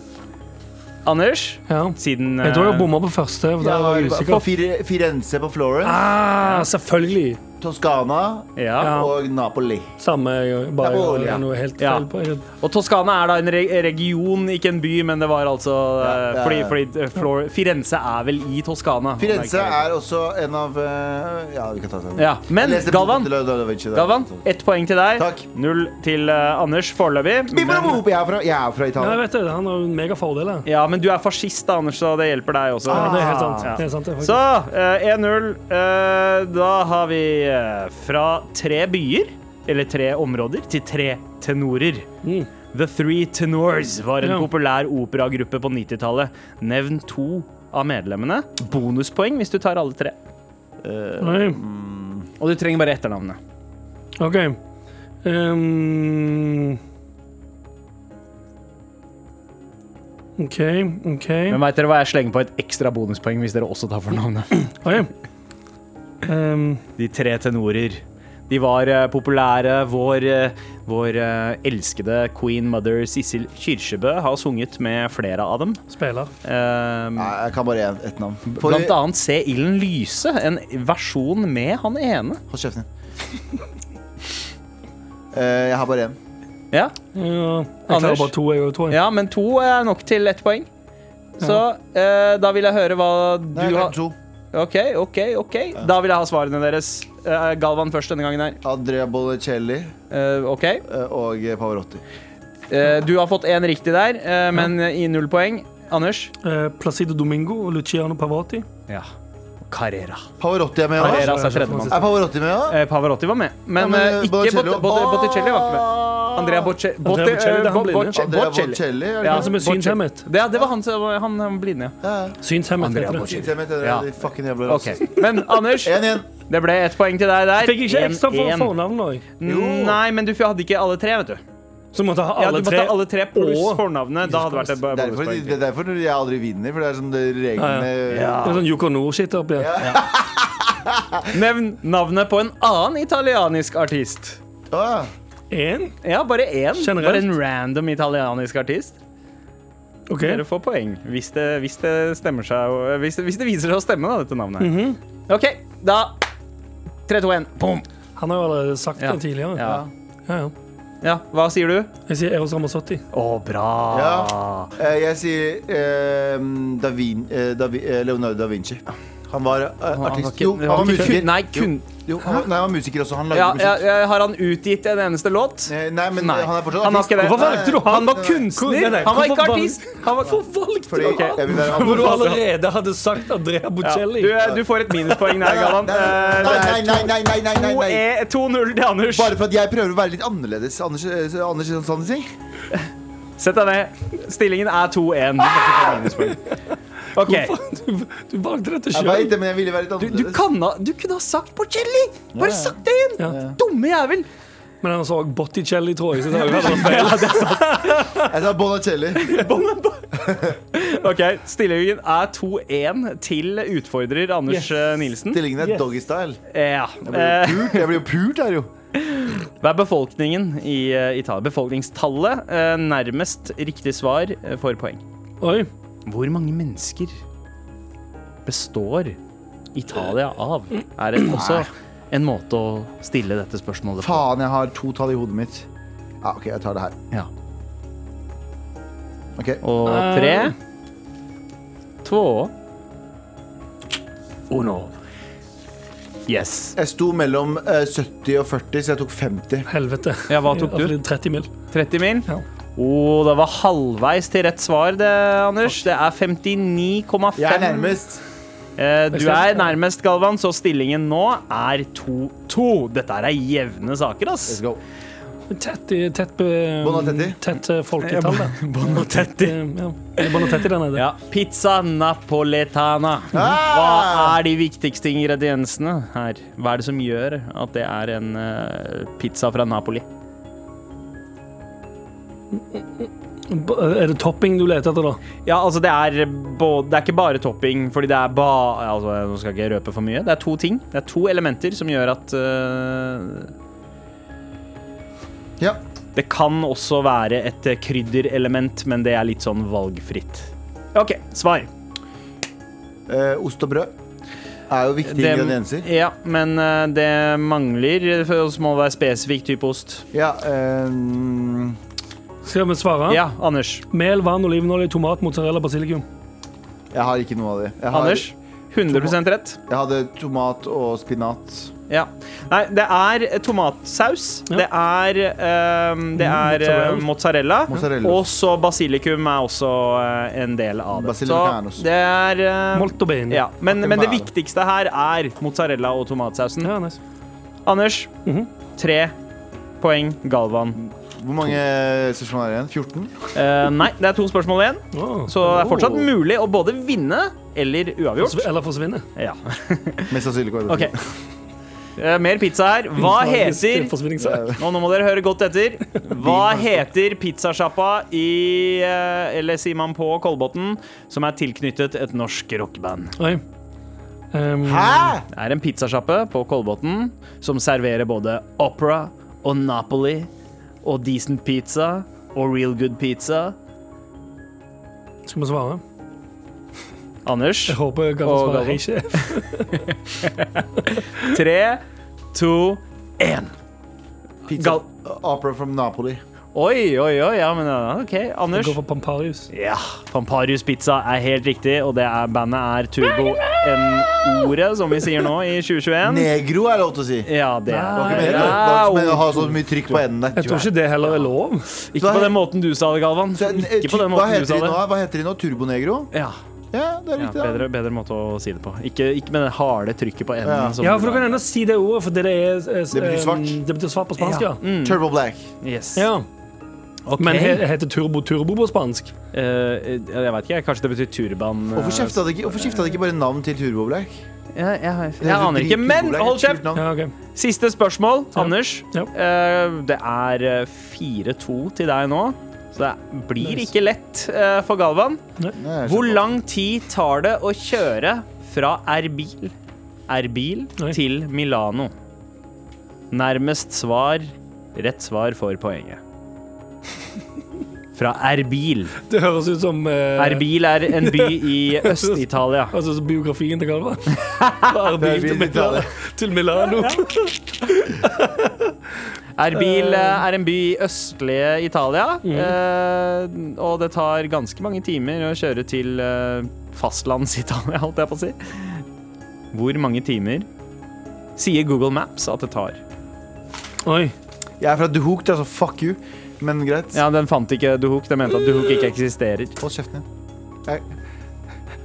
Anders, Ja. siden Jeg tror jeg eh, bomma på første. For Ja, der var jeg på usikker. Fire- Firenze på Florence, Ah, selvfølgelig. Toskana ja. og Napoli. Samme, jeg- bare Det var jeg olje. har noe helt Ja. feil på. Jeg- Og Toskana er da en re region, ikke en by, men det var altså eh, ja, ja. Fordi, fordi eh, Flor Firenze er vel i Toskana. Firenze er også en av eh, Ja, vi kan ta det sammen. Ja, men Jeg leste Galvan- boken til Leonardo da Vinci, da. Galvan, ett poeng til deg. Takk. Null til eh, Anders foreløpig. Vi får Men, opp, Jeg er fra, jeg er fra Ja, jeg Italia. vet det. Han har jo en megafordel her. ja, men du er fascist, da, Anders, så det hjelper deg også. Ah, Ja, det er helt sant. Ja. Det er sant det, er Så faktisk. eh, 1-0. Eh, da har vi eh, fra tre byer, eller tre områder, til tre tenorer. Mm. The Three Tenors var en Ja. populær operagruppe på 90-tallet. Nevn to av medlemmene. Bonuspoeng hvis du tar alle tre. Nei. Og du trenger bare etternavnet. OK. Ehm. OK, OK. Men veit dere hva jeg slenger på et ekstra bonuspoeng hvis dere også tar fornavnet? Oi. Ehm, De tre tenorer. De var eh, populære. Vår, eh, vår eh, elskede queen mother Sissel Kyrkjebø har sunget med flere av dem. spiller. Eh, Nei, jeg kan bare ett et navn. For, Blant annet Se ilden lyse, en versjon med han ene. Hold kjeften din. Eh, jeg har bare én. Ja, Ja, jeg Anders? klarer bare to, jeg òg, tror jeg. Ja, men to er nok til ett poeng. Så eh, da vil jeg høre hva du Nei, jeg har har to. OK, OK, OK. Da vil jeg ha svarene deres. Eh, Galvan først denne gangen her. Andrea Bocelli Eh, OK. eh, og Pavarotti. Eh, du har fått én riktig der, eh, men i null poeng. Anders? Eh, Placido Domingo og Luciano Pavarotti. Ja. Carrera. Pavarotti er med òg. Carreras er tredjemann. Er Pavarotti med òg? Eh, Pavarotti var med, men, Ja, men, eh, ikke Botticelli Bot- var- Bot- Botticelli var ikke med. Andrea eh, Bocelli. Andrea Bocelli, det er han blinde. Andrea Bocelli. er det Ja, ikke Som er altså synshemmet. Ja, det var han som han, han blinde, ja. Synshemmet Andrea heter det. Bocelli. det? Systemet heter det, Ja. de fucking jævla raser. Men Anders, 1-1. det ble ett poeng til deg der. Fikk ikke ekstra for 1-1. fornavn òg. Nei, men du hadde ikke alle tre, vet du. Så måtte jeg ha Ja, alle du måtte tre. ha alle tre pluss og- fornavnet. Da hadde det vært et Derfor, bonuspoeng. det er derfor jeg aldri vinner, for det er sånn det reglene Det er sånn Yoko Nord-skitt oppi her. Nevn navnet på en annen italienisk artist. Ah, Én? Ja, bare én. Generelt. Bare en random italienisk artist. OK. Dere får poeng hvis det, hvis det stemmer seg og- hvis det, hvis det viser seg å stemme, da, dette navnet. Mhm. OK, da 3, 2, 1. Boom. Han har jo allerede sagt Ja. det tidligere. Ja. Ja. Ja, ja. Hva sier du? Jeg sier Eros Ramazzotti. Å, bra. Ah. Ja. eh, Jeg sier eh, da Vin, eh, da Vi, eh, Leonardo da Vinci. Han var eh, artist. Jo, han var musiker. Nei, kun, Jo, han, var- nei, han var musiker også. Han lagde ja, ja, musikk. ja, har han utgitt en eneste låt? Eh, Nei, men Nei. han er fortsatt Han har ikke det. Hvorfor valgte du han? Han var Nei, kunstner. nei, Han var ikke hvorfor valg- artist. Han var Hvorfor valgte Fordi du jeg han? vil være Når du advokat. allerede hadde sagt Andrea Bocelli. Du, eh, du får et minuspoeng der, Galvan. Nei, Eh, nei, det er nei, nei, nei, nei, nei, nei. 2-1 2-0 til Anders. Bare for at jeg prøver å være litt annerledes. Anders, eh, Anders Kristiansen ting. Sett deg ned. Stillingen er 2-1. Du får ikke minuspoeng. OK. Du, du valgte dette Jeg sjøl. vet det, men jeg ville være litt Du, du, annerledes. kan ha, du kunne ha sagt Bocelli! Bare sagt det igjen! Ja. Dumme jævel. Men han så også Botticelli, tror jeg. Så det har jo vært feil. Jeg sa Bonacelli. OK, stillingen er 2-1 til utfordrer Anders Yes. eh, Nilsen. Stillingen er doggystyle. Ja. eh, Pult. Jeg blir jo pult her, jo. Hva er befolkningen i eh, Italia? Befolkningstallet eh, nærmest riktig svar eh, får poeng. Oi. Hvor mange mennesker består Italia av? Er det også en måte å stille dette spørsmålet på? Faen, jeg har to tall i hodet mitt. Ja, OK, jeg tar det her. Ja. Ok, Og tre, to, uno. Yes. Jeg sto mellom eh, 70 og 40, så jeg tok 50. Helvete. Ja, hva tok du? 30 mil. 30 mil? Ja. Å, det var halvveis til rett svar, det, Anders. Det er 59,5. Jeg er nærmest. Eh, Du er nærmest, Galvan, så stillingen nå er 2-2. Dette her er jevne saker, ass. Let's go. Tett, i- tett, be- Bonatetti. tett eh, folketall, det. Bonatetti. Eh, Ja. Det er Bonatetti der nede. Ja, Pizza napoletana. Ah! Hva er de viktigste ingrediensene her? Hva er det som gjør at det er en eh, pizza fra Napoli? B- eh, Er det topping du leter etter, da? Ja, altså det er, både, det er ikke bare topping, fordi det er ba... Altså, nå skal jeg ikke røpe for mye. Det er to ting. Det er to elementer som gjør at eh, Ja. Det kan også være et eh, krydderelement, men det er litt sånn valgfritt. OK, svar. Eh, ost og brød er jo viktige Det- ingredienser. Ja, men eh, det mangler eh, For oss må det være spesifikk type ost. Ja, ehm, Skal vi svare? Ja, Anders. Mel, vann, olivenolje, tomat, mozzarella, basilikum. jeg har ikke noe av det. Jeg, har, Anders. 100 rett. jeg hadde tomat og spinat. Ja. Nei, det er eh, tomatsaus. Det er, ehm, det er eh, mozzarella. Mozzarella. Og så basilikum er også eh, en del av det. Basilicanos. Så det er eh, Molto bene. ja. men, men det Molto bene. viktigste her er mozzarella og tomatsausen. Ja, nice. Anders, tre poeng. Galvan. Hvor mange spørsmål er det igjen? 14? Eh, nei, det er to spørsmål igjen, Å. så eh, det er fortsatt Oh. mulig å både vinne eller uavgjort. Eller forsvinne. Ja. Mest sannsynlig går det Ok. Eh, mer pizza her. Hva heter Forsvinningssak. Nå, nå må dere høre godt etter. Hva heter pizzasjappa i eh, Eller sier man på Kolbotn, som er tilknyttet et norsk rockeband? Oi. Um, Hæ?! Det er en pizzasjappe på Kolbotn som serverer både opera og Napoli og decent pizza og real good pizza. Skal vi svare? Anders, Jeg håper jeg kan Og svare Galvan. hei, sjef. tre, to, én. Pizza. Gal- Opera from Napoli. Oi, oi, oi. Ja, men ja, OK. Jeg Anders. går for Pamparius. Ja, Pamparius Pizza er helt riktig, og det er, bandet er Turbo N-ordet, som vi sier nå i 2021. Negro er lov til å si. Det Ja, det var er ikke meningen det. Det var ikke meningen å ha så mye trykk på enden der. Jeg tror ikke det heller er lov. Ikke på den måten du sa det, Galvan. Så, eh, Ikke på den Hva måten du heter sa de nå? det. Hva heter de nå? Turbonegro? Ja. Ja, det er Ja, riktig. bedre, da. bedre måte å si det på. Ikke, ikke med det harde trykket på enden. Ja. som- Ja, for du kan ennå si det ordet, for det er eh, s- Det betyr svart. eh, Det betyr svart på spansk, ja. Turbo Black. Yes. ja. Mm. Ok. Men he, heter turbo turbo på spansk? Eh, jeg vet ikke, kanskje det betyr turban. eh, Hvorfor skifta de ikke, hvorfor skifta de ikke bare navn til Turbo Black? Jeg, jeg, Det er jeg jo aner ikke, dritkult men Black, hold kult kjeft! navn. Ja, ok. Siste spørsmål, Anders. Ja. Eh, det er eh, 4-2 til deg nå, så det blir ikke lett eh, for Galvan. Nei, jeg Hvor skjønner. lang tid tar det å kjøre fra Erbil, Erbil Oi. til Milano? Nærmest svar, rett svar får poenget. Fra Erbil. Det høres ut som eh, Erbil er en by i Øst-Italia. Altså så biografien til Galvan. Fra Erbil til, Erbil til Italia. Milano- til Milano. Erbil eh, er en by i østlige Italia, eh, og det tar ganske mange timer å kjøre til eh, fastlands-Italia, holdt jeg på å si. Hvor mange timer sier Google Maps at det tar? Oi. Jeg er fra Duhook, altså fuck you. Men greit. Ja, Den fant ikke Duhok. Den mente at Duhok ikke eksisterer. Hold kjeften din.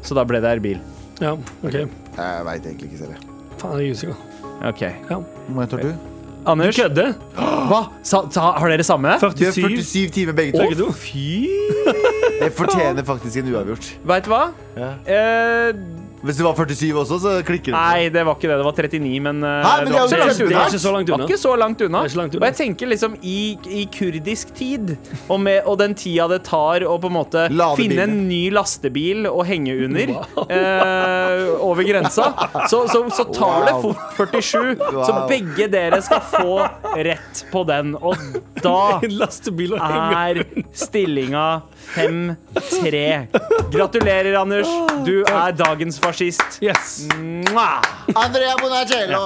Så da ble det Erbil. Ja, OK. Jeg veit egentlig ikke selv. jeg. Faen, jeg er usikker. Ok. Hvor mange tar du? Anders, Kødde? hva? Sa, sa, har dere samme? Du har 47? 47 timer begge to. Begge to? Jeg fortjener faktisk en uavgjort. Veit du hva? Eh, Hvis det var 47 også, så klikker det. nei, det var ikke det. Det var 39, men eh, Hæ, men det var det ikke er så jo langt Det unna. er ikke så langt Det var ikke så langt unna. unna. Det er ikke langt unna. Og jeg tenker liksom i, i kurdisk tid, og, med, og den tida det tar å på en måte Ladebilen. finne en ny lastebil å henge under eh, over grensa, så, så, så tar det Wow. fort 47. Så Wow. begge dere skal få rett på den, og da Lastebil og henger. er stillinga 5-3. Gratulerer, Anders. Du er dagens fascist. Yes. Mm. Mwah! Andrea Bonacello.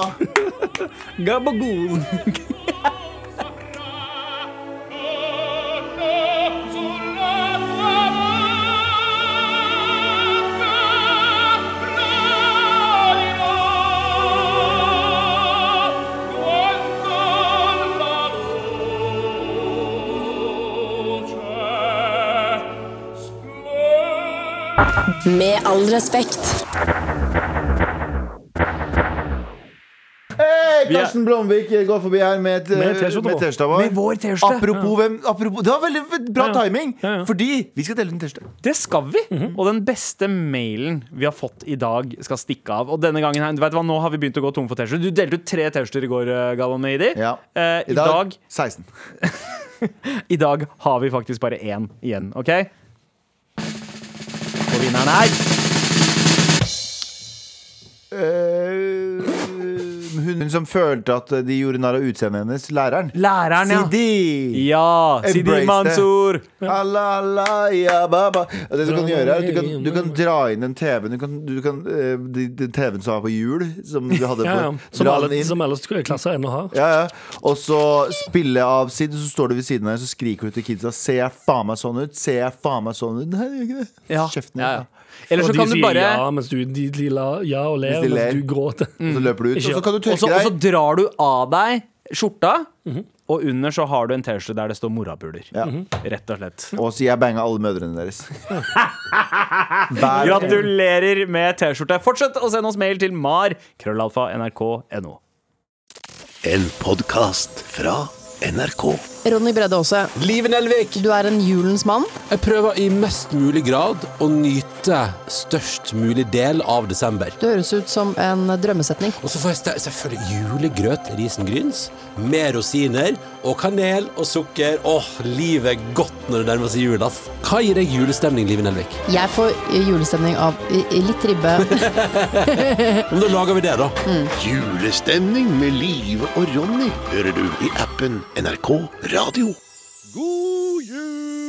Gabagool. Med all respekt. Hei, Karsten Blomvik går forbi her Eh, med et, Med T-skjorte med på. T-skjorta vår. Med vår T-skjorte. Apropos hvem apropos, Det var veldig bra Ja, ja. timing, Ja, ja. fordi vi skal dele ut en T-skjorte. Det skal vi. Og den beste mailen vi har fått i dag, skal stikke av. Og denne gangen her, du vet hva, Nå har vi begynt å gå tom for T-skjorter. Du delte ut tre T-skjorter i går, eh, Galvan Mehidi. Ja. Eh, i, dag, 16. I dag har vi faktisk bare én igjen, OK? Og vinneren er Eh, hun, hun som følte at de gjorde narr av utseendet hennes, læreren. læreren, ja. Sidi. Ja, Sidi Embrace Mansour. Alla, alla, ja, ba, ba. Og Det du kan gjøre er at du kan, du kan dra inn den TV-en du kan, du kan, eh, de- Den TV-en som var på hjul, som du hadde på. Ja, ja. Som dra den alle inn. som ellers klasser ennå har. ja, ja. Og så spille av Sid, så står du ved siden av henne Så skriker du til kidsa Ser jeg faen meg sånn ut? Ser jeg faen meg sånn ut? Nei, jeg gjør ikke det. Ja. Kjeften din. Ja, ja. Eller så Og kan de du sier ja bare mens du de, de la, ja og ler, Mens de mens, ler. du gråter. Og så løper du ut, og så kan du Mm. Og så tørke og så deg. drar du av deg skjorta, og under så har du en T-skjorte der det står morapuler. Ja. Rett og slett. Og så jeg banga alle mødrene deres. Hver Gratulerer med T-skjorte. Fortsett å sende oss mail til mar krøllalfa nrk.no. En podkast fra NRK. Ronny Bredde Aase, Liv Nelvik, du er en julens mann. jeg prøver i mest mulig grad å nyte størst mulig del av desember. Du høres ut som en drømmesetning. Og så får jeg ste- selvfølgelig julegrøt, risengryns, med rosiner og kanel og sukker. Åh, livet er godt når det nærmer seg jul, ass. Hva gir deg julestemning, Liv Nelvik? Jeg får julestemning av i- i litt ribbe. Om da lager vi det, da. Julestemning med Live og Ronny hører du i appen NRK Radio. God jul!